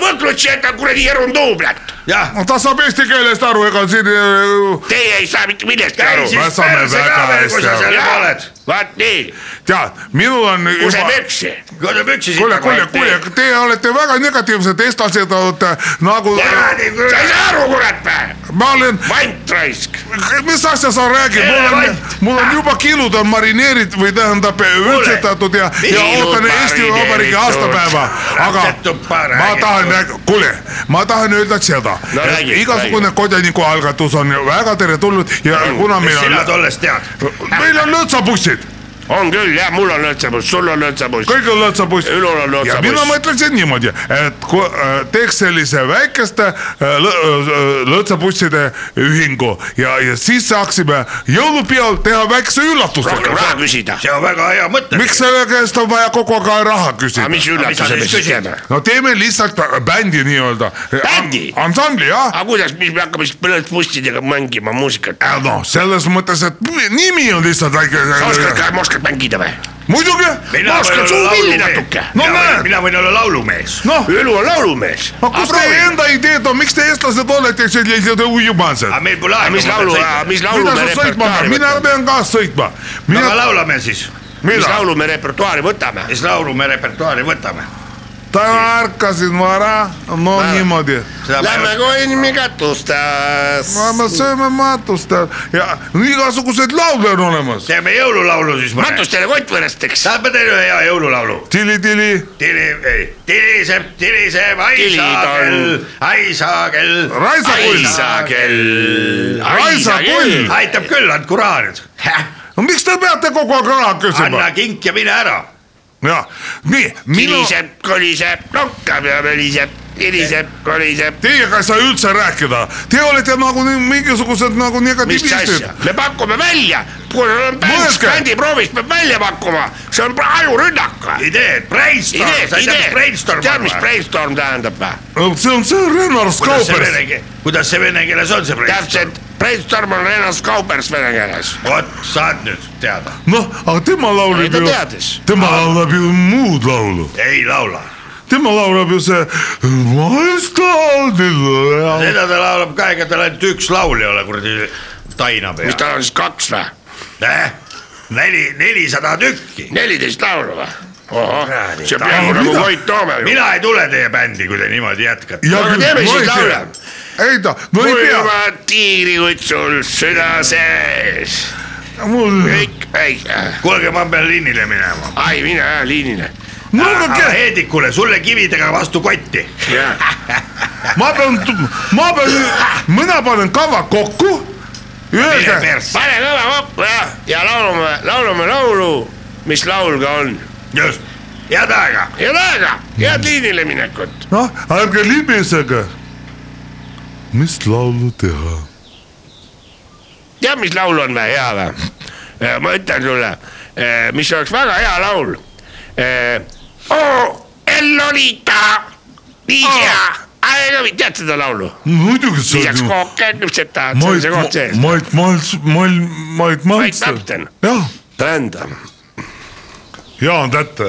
[SPEAKER 5] võtnud seda kuradi erunduublat ,
[SPEAKER 10] jah ,
[SPEAKER 6] no ta saab eesti keelest aru , ega siin äh,
[SPEAKER 5] teie ei saa mitte millestki
[SPEAKER 10] käi
[SPEAKER 5] aru .
[SPEAKER 10] siis
[SPEAKER 6] saame
[SPEAKER 10] perse
[SPEAKER 6] väga
[SPEAKER 10] ka veel ,
[SPEAKER 6] hästi
[SPEAKER 10] kui sa
[SPEAKER 6] aru.
[SPEAKER 10] seal juba oled .
[SPEAKER 5] vaat nii ,
[SPEAKER 6] tead , minul on
[SPEAKER 5] use
[SPEAKER 6] juba
[SPEAKER 5] püksi .
[SPEAKER 10] kuidas püksi
[SPEAKER 6] kuule ,
[SPEAKER 10] siit
[SPEAKER 6] kuule , kuule , teie olete väga negatiivsed eestlased , olete nagu ,
[SPEAKER 5] sa ei saa aru , kurat või ?
[SPEAKER 6] ma olen ,
[SPEAKER 5] vant raisk .
[SPEAKER 6] mis asja sa räägid , mul on
[SPEAKER 10] Elevant. ,
[SPEAKER 6] mul on juba kilud on marineeritud või tähendab üldsetatud ja , ja
[SPEAKER 5] kilud
[SPEAKER 6] ootan Eesti Vabariigi
[SPEAKER 5] marineeritud?
[SPEAKER 6] aastapäeva , aga
[SPEAKER 10] Rätsetud paar
[SPEAKER 6] ma
[SPEAKER 10] räägitud.
[SPEAKER 6] tahan , kuule , ma tahan öelda seda
[SPEAKER 5] No
[SPEAKER 6] et
[SPEAKER 5] räägi,
[SPEAKER 6] igasugune kodanikualgatus on ju väga teretulnud ja kuna
[SPEAKER 10] mis
[SPEAKER 6] meil
[SPEAKER 10] sina
[SPEAKER 6] on ,
[SPEAKER 10] tollest tead ?
[SPEAKER 6] meil on lõõtsabussid ,
[SPEAKER 5] on küll jah , mul on lõõtsabuss , sul on lõõtsabuss ,
[SPEAKER 6] kõigil on lõõtsabussid .
[SPEAKER 5] Ülul on
[SPEAKER 6] ja mina
[SPEAKER 5] lõõtsabuss .
[SPEAKER 6] mõtleksin niimoodi , et kui äh, teeks sellise väikeste äh, lõ- äh, lõõtsabusside ühingu ja , ja siis saaksime jõulupeol teha väikse
[SPEAKER 5] rohkem
[SPEAKER 6] üllatusega
[SPEAKER 5] raha . küsida .
[SPEAKER 10] see on väga hea mõte .
[SPEAKER 6] miks selle käest on vaja kogu aeg raha
[SPEAKER 5] aga
[SPEAKER 6] küsida ?
[SPEAKER 5] mis
[SPEAKER 10] Aga
[SPEAKER 5] üllatuse
[SPEAKER 10] mis
[SPEAKER 5] me
[SPEAKER 10] sa
[SPEAKER 5] siis
[SPEAKER 10] siis
[SPEAKER 5] teeme ?
[SPEAKER 6] no teeme lihtsalt bändi nii-öelda .
[SPEAKER 5] Bändi? Ah.
[SPEAKER 6] ansambli jah .
[SPEAKER 5] aga kuidas , mis me hakkame siis lõõtsbussidega mängima muusikat ?
[SPEAKER 6] no noh, selles mõttes , et nimi on lihtsalt
[SPEAKER 5] sa oskad
[SPEAKER 6] väike .
[SPEAKER 5] ka , oskad mängida või ?
[SPEAKER 6] muidugi .
[SPEAKER 5] ma oskan suu pilli natuke .
[SPEAKER 6] No näed.
[SPEAKER 10] mina võin olla laulumees .
[SPEAKER 6] noh ,
[SPEAKER 5] Ülu on laulumees .
[SPEAKER 6] aga kus teie enda ideed on , miks te eestlased olete sellised ujumased
[SPEAKER 10] aga ? meil pole
[SPEAKER 5] aga
[SPEAKER 10] aega .
[SPEAKER 5] mis laulu , mis laulu
[SPEAKER 6] mida
[SPEAKER 5] me
[SPEAKER 6] sa sõitma pead ,
[SPEAKER 5] repertuaari
[SPEAKER 6] mina
[SPEAKER 5] võtame ?
[SPEAKER 6] pean ka sõitma .
[SPEAKER 10] no
[SPEAKER 6] mina
[SPEAKER 10] aga , laulame siis ,
[SPEAKER 5] mis
[SPEAKER 6] mina
[SPEAKER 5] laulu me repertuaari võtame ?
[SPEAKER 10] mis laulu me repertuaari võtame ?
[SPEAKER 6] täna ärkasin vara , no Ära. niimoodi .
[SPEAKER 5] Lähme konni katustes .
[SPEAKER 6] me sööme matust ja igasuguseid laule on olemas .
[SPEAKER 10] teeme jõululaulu siis mõne .
[SPEAKER 5] matustele kottvõrresteks .
[SPEAKER 10] saad ma teile ühe hea jõululaulu ?
[SPEAKER 6] tili-tili ,
[SPEAKER 10] tili , ei , tiliseb , tiliseb , haisa
[SPEAKER 5] Tilitall.
[SPEAKER 10] kell , haisa kell .
[SPEAKER 6] Raisa kull .
[SPEAKER 5] kell .
[SPEAKER 6] Raisa kull .
[SPEAKER 10] aitab küll , andku raha nüüd .
[SPEAKER 6] no miks te peate kogu aeg raha küsima
[SPEAKER 10] anna ? kink ja mine ära .
[SPEAKER 6] jah , nii , minu ,
[SPEAKER 5] kiliseb , koliseb , ronkab ja möliseb , kiliseb , koliseb .
[SPEAKER 6] teiega ei saa üldse rääkida , te olete nagu nii- mingisugused nagu
[SPEAKER 5] mis
[SPEAKER 6] negatiivistid
[SPEAKER 5] asja , me pakume välja , kui sul on bänd ,
[SPEAKER 6] Mõelge!
[SPEAKER 5] bändiproovis peab välja pakkuma , see on pra- ajurünnak .
[SPEAKER 10] ideed ,
[SPEAKER 5] idee
[SPEAKER 10] brainstorm ,, sa ei tea , mis
[SPEAKER 5] idee ,
[SPEAKER 10] brainstorm
[SPEAKER 5] tead , mis brainstorm tähendab või ?
[SPEAKER 6] see on see Rennar
[SPEAKER 10] kuidas see
[SPEAKER 6] Skaupers
[SPEAKER 10] vene , keel , kuidas see vene keeles on see brainstorm ?
[SPEAKER 5] täpselt , brainstorm on Renas Kaubers vene keeles .
[SPEAKER 10] vot saad nüüd teada ,
[SPEAKER 6] noh , aga tema laulab
[SPEAKER 5] ta
[SPEAKER 6] ju ,
[SPEAKER 5] teadis ,
[SPEAKER 6] tema laulab ju muud laulu ,
[SPEAKER 10] ei laula ,
[SPEAKER 6] tema laulab ju see . e
[SPEAKER 10] seda ta laulab ka , ega tal ainult üks laul ei ole kuradi taina
[SPEAKER 5] mis
[SPEAKER 10] peal .
[SPEAKER 5] tal on siis kaks või ?
[SPEAKER 10] neli , nelisada tükki .
[SPEAKER 5] neliteist laulu või ? ohoh ,
[SPEAKER 10] Kuradi
[SPEAKER 5] see on peaaegu
[SPEAKER 6] talu-
[SPEAKER 5] nagu
[SPEAKER 6] mida?
[SPEAKER 5] Koit Toome ju .
[SPEAKER 10] mina ei tule teie bändi , kui te niimoodi jätkate .
[SPEAKER 6] Ja
[SPEAKER 5] aga
[SPEAKER 6] küll,
[SPEAKER 5] teeme
[SPEAKER 6] no
[SPEAKER 5] siis
[SPEAKER 6] ei tee.
[SPEAKER 5] laule .
[SPEAKER 6] ei ta , no ei pea .
[SPEAKER 5] kuivad tiigrid sul süda sees .
[SPEAKER 6] mul ,
[SPEAKER 5] kõik , ei ,
[SPEAKER 10] kuulge , ma pean liinile minema .
[SPEAKER 5] ai mine ära liinile .
[SPEAKER 6] mul on
[SPEAKER 10] aga
[SPEAKER 6] käes ,
[SPEAKER 10] Heedikule , sulle kividega vastu kotti .
[SPEAKER 6] ma pean , ma pean , mina panen kava E, kokku . Öelge ,
[SPEAKER 5] pane kõva kokku ja , ja laulume , laulume laulu , mis laul ka on .
[SPEAKER 10] just , head aega .
[SPEAKER 5] head aega , head liinile minekut .
[SPEAKER 6] noh , ärge libisege . mis laulu teha ?
[SPEAKER 5] tead , mis laul on või , hea või ? ma ütlen sulle , mis oleks väga hea laul . oo , Ellolita , nii hea , aega , tead seda laulu ?
[SPEAKER 6] muidugi Oh. see on
[SPEAKER 5] lisaks
[SPEAKER 6] ju .
[SPEAKER 5] kooke küpsetad , see on
[SPEAKER 6] Mait
[SPEAKER 5] see , koht sees .
[SPEAKER 6] Mait Malts , Mait , Mait Malts .
[SPEAKER 5] Maltsten.
[SPEAKER 6] jah ,
[SPEAKER 5] Trenda .
[SPEAKER 6] Jaan Tätte .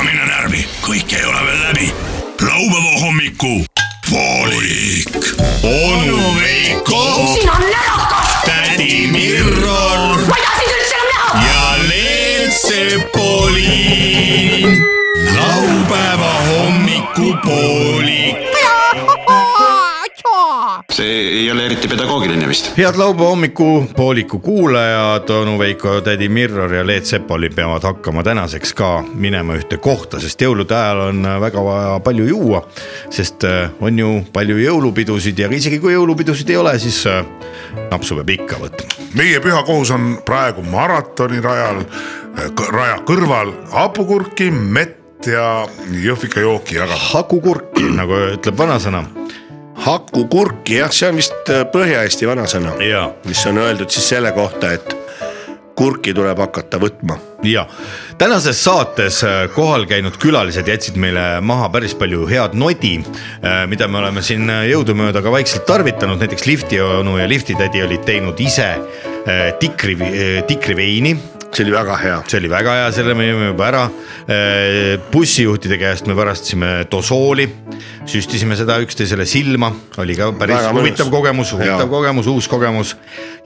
[SPEAKER 1] läbi , kõik ei ole veel läbi . laupäeva hommiku poolik . onu Veiko ,
[SPEAKER 2] siin on närakas .
[SPEAKER 1] tädi Mirror
[SPEAKER 2] ma ei taha sind üldse enam näha .
[SPEAKER 1] ja Leelsepoliin . laupäeva hommikupoolik .
[SPEAKER 3] see ei ole eriti pedagoogiline vist .
[SPEAKER 4] head laupäeva hommikupooliku kuulajad , Onu Veiko , tädi Mirror ja Leet Sepoli peavad hakkama tänaseks ka minema ühte kohta , sest jõulude ajal on väga vaja palju juua . sest äh, on ju palju jõulupidusid ja isegi kui jõulupidusid ei ole , siis äh, napsu peab ikka võtma .
[SPEAKER 6] meie püha kohus on praegu maratoni rajal , raja kõrval hapukurki , mett ja jõhvika jooki jagada .
[SPEAKER 4] hakukurki , nagu ütleb vanasõna .
[SPEAKER 5] hakukurki jah , see on vist äh, Põhja-Eesti vanasõna ,
[SPEAKER 4] ja ,
[SPEAKER 5] mis on öeldud siis selle kohta , et kurki tuleb hakata võtma .
[SPEAKER 4] ja tänases saates äh, kohal käinud külalised jätsid meile maha päris palju head nodi , mida me oleme siin äh, jõudumööda ka vaikselt tarvitanud , näiteks lifti onu ja liftitädi olid teinud ise äh, tikri , tikriveini
[SPEAKER 5] see oli väga hea .
[SPEAKER 4] see oli väga hea , selle me jõime juba ära . bussijuhtide käest me varastasime dosooli , süstisime seda üksteisele silma , oli ka päris
[SPEAKER 5] Väga mõnus.
[SPEAKER 4] huvitav kogemus , huvitav
[SPEAKER 5] Jaa.
[SPEAKER 4] kogemus , uus kogemus .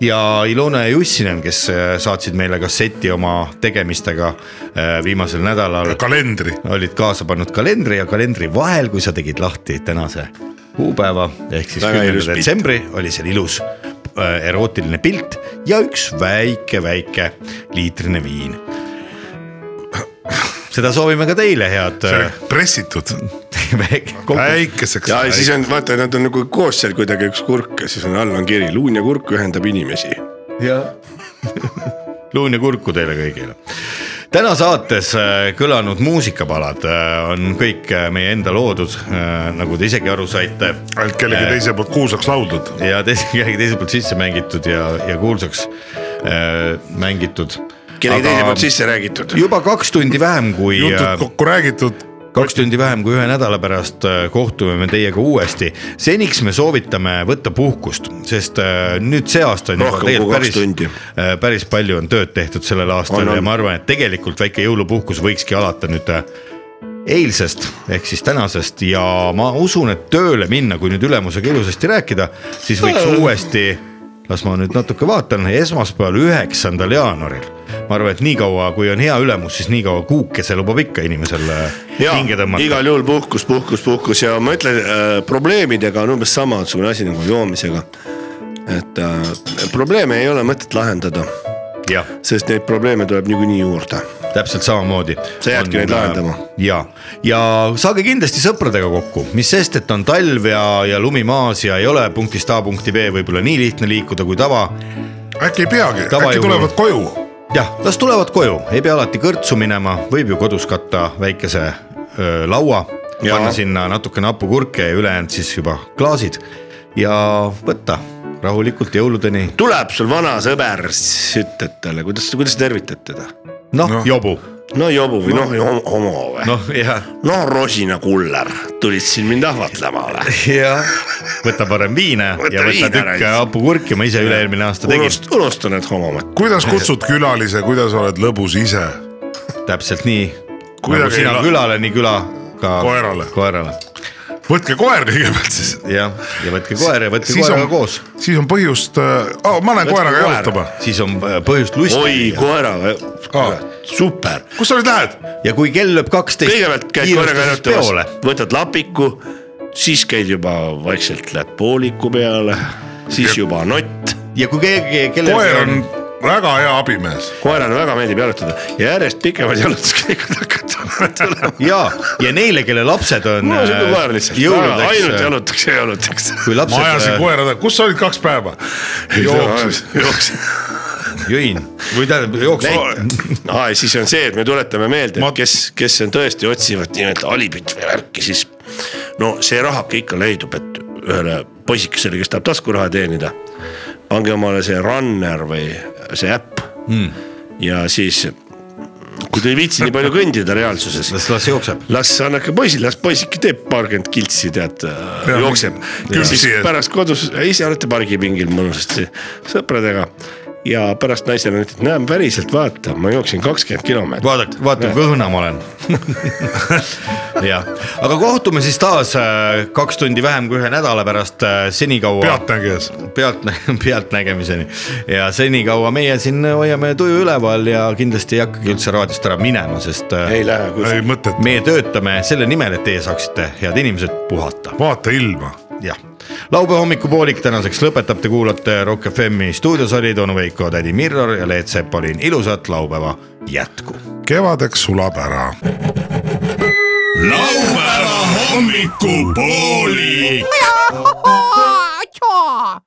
[SPEAKER 4] ja Ilona ja Jussinen , kes eh, saatsid meile kasseti oma tegemistega eh, viimasel nädalal ,
[SPEAKER 6] kalendri ,
[SPEAKER 4] olid kaasa pannud kalendri ja kalendri vahel , kui sa tegid lahti tänase kuupäeva ehk siis
[SPEAKER 5] Väga ilus
[SPEAKER 4] kümnenda
[SPEAKER 5] pilt.
[SPEAKER 4] detsembri oli seal ilus eh, erootiline pilt ja üks väike-väike liitrine viin . seda soovime ka teile , head . äh,
[SPEAKER 6] pressitud väikeseks .
[SPEAKER 5] ja siis on , vaata , nad on nagu koos seal kuidagi üks kurk ja siis on all on kiri , luun ja kurk ühendab inimesi .
[SPEAKER 4] luun ja kurku teile kõigile . täna saates äh, kõlanud muusikapalad äh, on kõik äh, meie enda loodud , nagu te isegi aru saite
[SPEAKER 6] ainult kellegi teise poolt kuulsaks lauldud .
[SPEAKER 4] ja teise , kellegi teise poolt sisse mängitud ja , ja kuulsaks äh, mängitud .
[SPEAKER 5] kellegi teise poolt sisse räägitud .
[SPEAKER 4] juba kaks tundi vähem kui , äh,
[SPEAKER 6] jutud kokku räägitud ,
[SPEAKER 4] kaks tundi vähem kui ühe nädala pärast äh, kohtume me teiega uuesti . seniks me soovitame võtta puhkust , sest äh, nüüd see aasta on juba
[SPEAKER 5] Rohkem kui
[SPEAKER 4] tegelikult
[SPEAKER 5] kaks tundi.
[SPEAKER 4] päris , päris palju on tööd tehtud sellel aastal
[SPEAKER 5] On, on.
[SPEAKER 4] ja ma arvan , et tegelikult väike jõulupuhkus võikski alata nüüd äh, eilsest ehk siis tänasest ja ma usun , et tööle minna , kui nüüd ülemusega ilusasti rääkida , siis võiks
[SPEAKER 5] Äh.
[SPEAKER 4] uuesti , las ma nüüd natuke vaatan , esmaspäeval , üheksandal jaanuaril . ma arvan , et niikaua , kui on hea ülemus , siis niikaua kuukese lubab ikka inimesel äh,
[SPEAKER 5] ja
[SPEAKER 4] hinge tõmmata .
[SPEAKER 5] igal juhul puhkus , puhkus , puhkus ja ma ütlen äh, , probleemidega on umbes samasugune asi nagu joomisega . et äh, probleeme ei ole mõtet lahendada ,
[SPEAKER 4] jah ,
[SPEAKER 5] sest neid probleeme tuleb niikuinii juurde .
[SPEAKER 4] täpselt samamoodi .
[SPEAKER 5] Sa jäädki neid lahendama. .
[SPEAKER 4] ja , ja saage kindlasti sõpradega kokku , mis sest , et on talv ja , ja lumi maas ja ei ole punktist A punkti B võib-olla nii lihtne liikuda kui tava
[SPEAKER 6] äkki ei peagi , äkki
[SPEAKER 4] Tavajuhul.
[SPEAKER 6] tulevad koju .
[SPEAKER 4] jah , las tulevad koju , ei pea alati kõrtsu minema , võib ju kodus katta väikese öö, laua ,
[SPEAKER 5] Jaa.
[SPEAKER 4] panna sinna natukene hapukurke ja ülejäänud siis juba klaasid ja võtta rahulikult jõuludeni ,
[SPEAKER 5] tuleb sul vana sõber , siis ütled talle , kuidas , kuidas sa tervitad teda ?
[SPEAKER 4] noh no. jobu ,
[SPEAKER 5] no jobu või noh no, , homo või no. ?
[SPEAKER 4] noh ja ,
[SPEAKER 5] noh , rosinakuller , tulid siin mind ahvatlema või ?
[SPEAKER 4] ja võta parem viina
[SPEAKER 5] Võta
[SPEAKER 4] ja võta
[SPEAKER 5] viina,
[SPEAKER 4] tükk
[SPEAKER 5] raisk.
[SPEAKER 4] hapukurki , ma ise üle-eelmine aasta tegin Unust.
[SPEAKER 5] unust , unustan , et homo ma .
[SPEAKER 6] kuidas kutsud külalise , kuidas oled lõbus ise ?
[SPEAKER 4] täpselt nii , nagu
[SPEAKER 6] Kuidagi
[SPEAKER 4] sina
[SPEAKER 6] ei la-
[SPEAKER 4] külale , nii küla ka
[SPEAKER 6] Koerale.
[SPEAKER 4] koerale
[SPEAKER 6] võtke koer kõigepealt siis .
[SPEAKER 4] jah , ja võtke koer ja võtke
[SPEAKER 6] Siis
[SPEAKER 4] koeraga
[SPEAKER 6] on-
[SPEAKER 4] koos ,
[SPEAKER 6] siis on põhjust oh, , ma lähen koeraga
[SPEAKER 5] koer.
[SPEAKER 6] jalutama .
[SPEAKER 4] siis on äh, põhjust
[SPEAKER 5] oi
[SPEAKER 4] lusti .
[SPEAKER 5] koera või
[SPEAKER 6] Aa. ?
[SPEAKER 5] super ,
[SPEAKER 6] kus sa nüüd lähed ?
[SPEAKER 4] ja kui kell lööb kaksteist .
[SPEAKER 5] kõigepealt käid koeraga jalutamas , võtad lapiku , siis käid juba vaikselt läheb pooliku peale , siis juba nott .
[SPEAKER 4] ja kui keegi ,
[SPEAKER 6] koer
[SPEAKER 4] kellelgi
[SPEAKER 6] on väga hea abimees .
[SPEAKER 5] koerale väga meeldib jalutada ja järjest pikemad jalutuskäigud hakkavad tulema .
[SPEAKER 4] ja , ja neile , kelle lapsed on .
[SPEAKER 5] mul on siuke koer lihtsalt , ainult
[SPEAKER 4] jõuludeks ,
[SPEAKER 5] jalutaks ja jalutaks .
[SPEAKER 4] kui
[SPEAKER 6] ma ajasin
[SPEAKER 4] lapsed , äh,
[SPEAKER 6] koera taga , kus sa olid kaks päeva ? jooksis .
[SPEAKER 5] jooksis .
[SPEAKER 4] jõin või tähendab jooksul .
[SPEAKER 5] aa , ja siis on see , et me tuletame meelde
[SPEAKER 6] Ma-
[SPEAKER 5] Ma... , kes , kes on tõesti otsivad nii-öelda alibit või värki , siis no see rahake ikka leidub , et ühele poisikesele , kes tahab taskuraha teenida , pange omale see Runner või see äpp mm. ja siis , kui te ei viitsi nii palju kõndida reaalsuses ,
[SPEAKER 4] las , las jookseb .
[SPEAKER 5] las annake poisile , las poisike teeb paarkümmend kiltsi ,
[SPEAKER 12] äh,
[SPEAKER 5] tead , jookseb .
[SPEAKER 6] külmsi ees.
[SPEAKER 5] pärast kodus , ise olete pargipingil mõnusasti sõpradega
[SPEAKER 12] ja pärast naisele ütlesin , et näe , päriselt vaata , ma jooksin kakskümmend kilomeetrit .
[SPEAKER 4] vaadake , vaata kui õhna ma olen . jah , aga kohtume siis taas äh, kaks tundi vähem kui ühe nädala pärast , senikaua .
[SPEAKER 6] Pealtnägijas. .
[SPEAKER 4] pealt , pealtnägemiseni ja senikaua meie siin hoiame tuju üleval ja kindlasti ei hakkagi üldse raadiost ära minema , sest . äh,
[SPEAKER 12] ei lähe
[SPEAKER 6] kuskile. Ei mõtet.
[SPEAKER 4] meie töötame selle nimel , et teie saaksite , head inimesed , puhata .
[SPEAKER 6] vaata ilma .
[SPEAKER 4] jah , laupäeva hommikupoolik tänaseks lõpetab , te kuulate Rock FM-i stuudios olid onu Veiko , tädi Mirror ja Leet Sepolin , ilusat laupäeva jätku .
[SPEAKER 6] kevadeks sulab ära .
[SPEAKER 2] laupäeva hommikupoolik .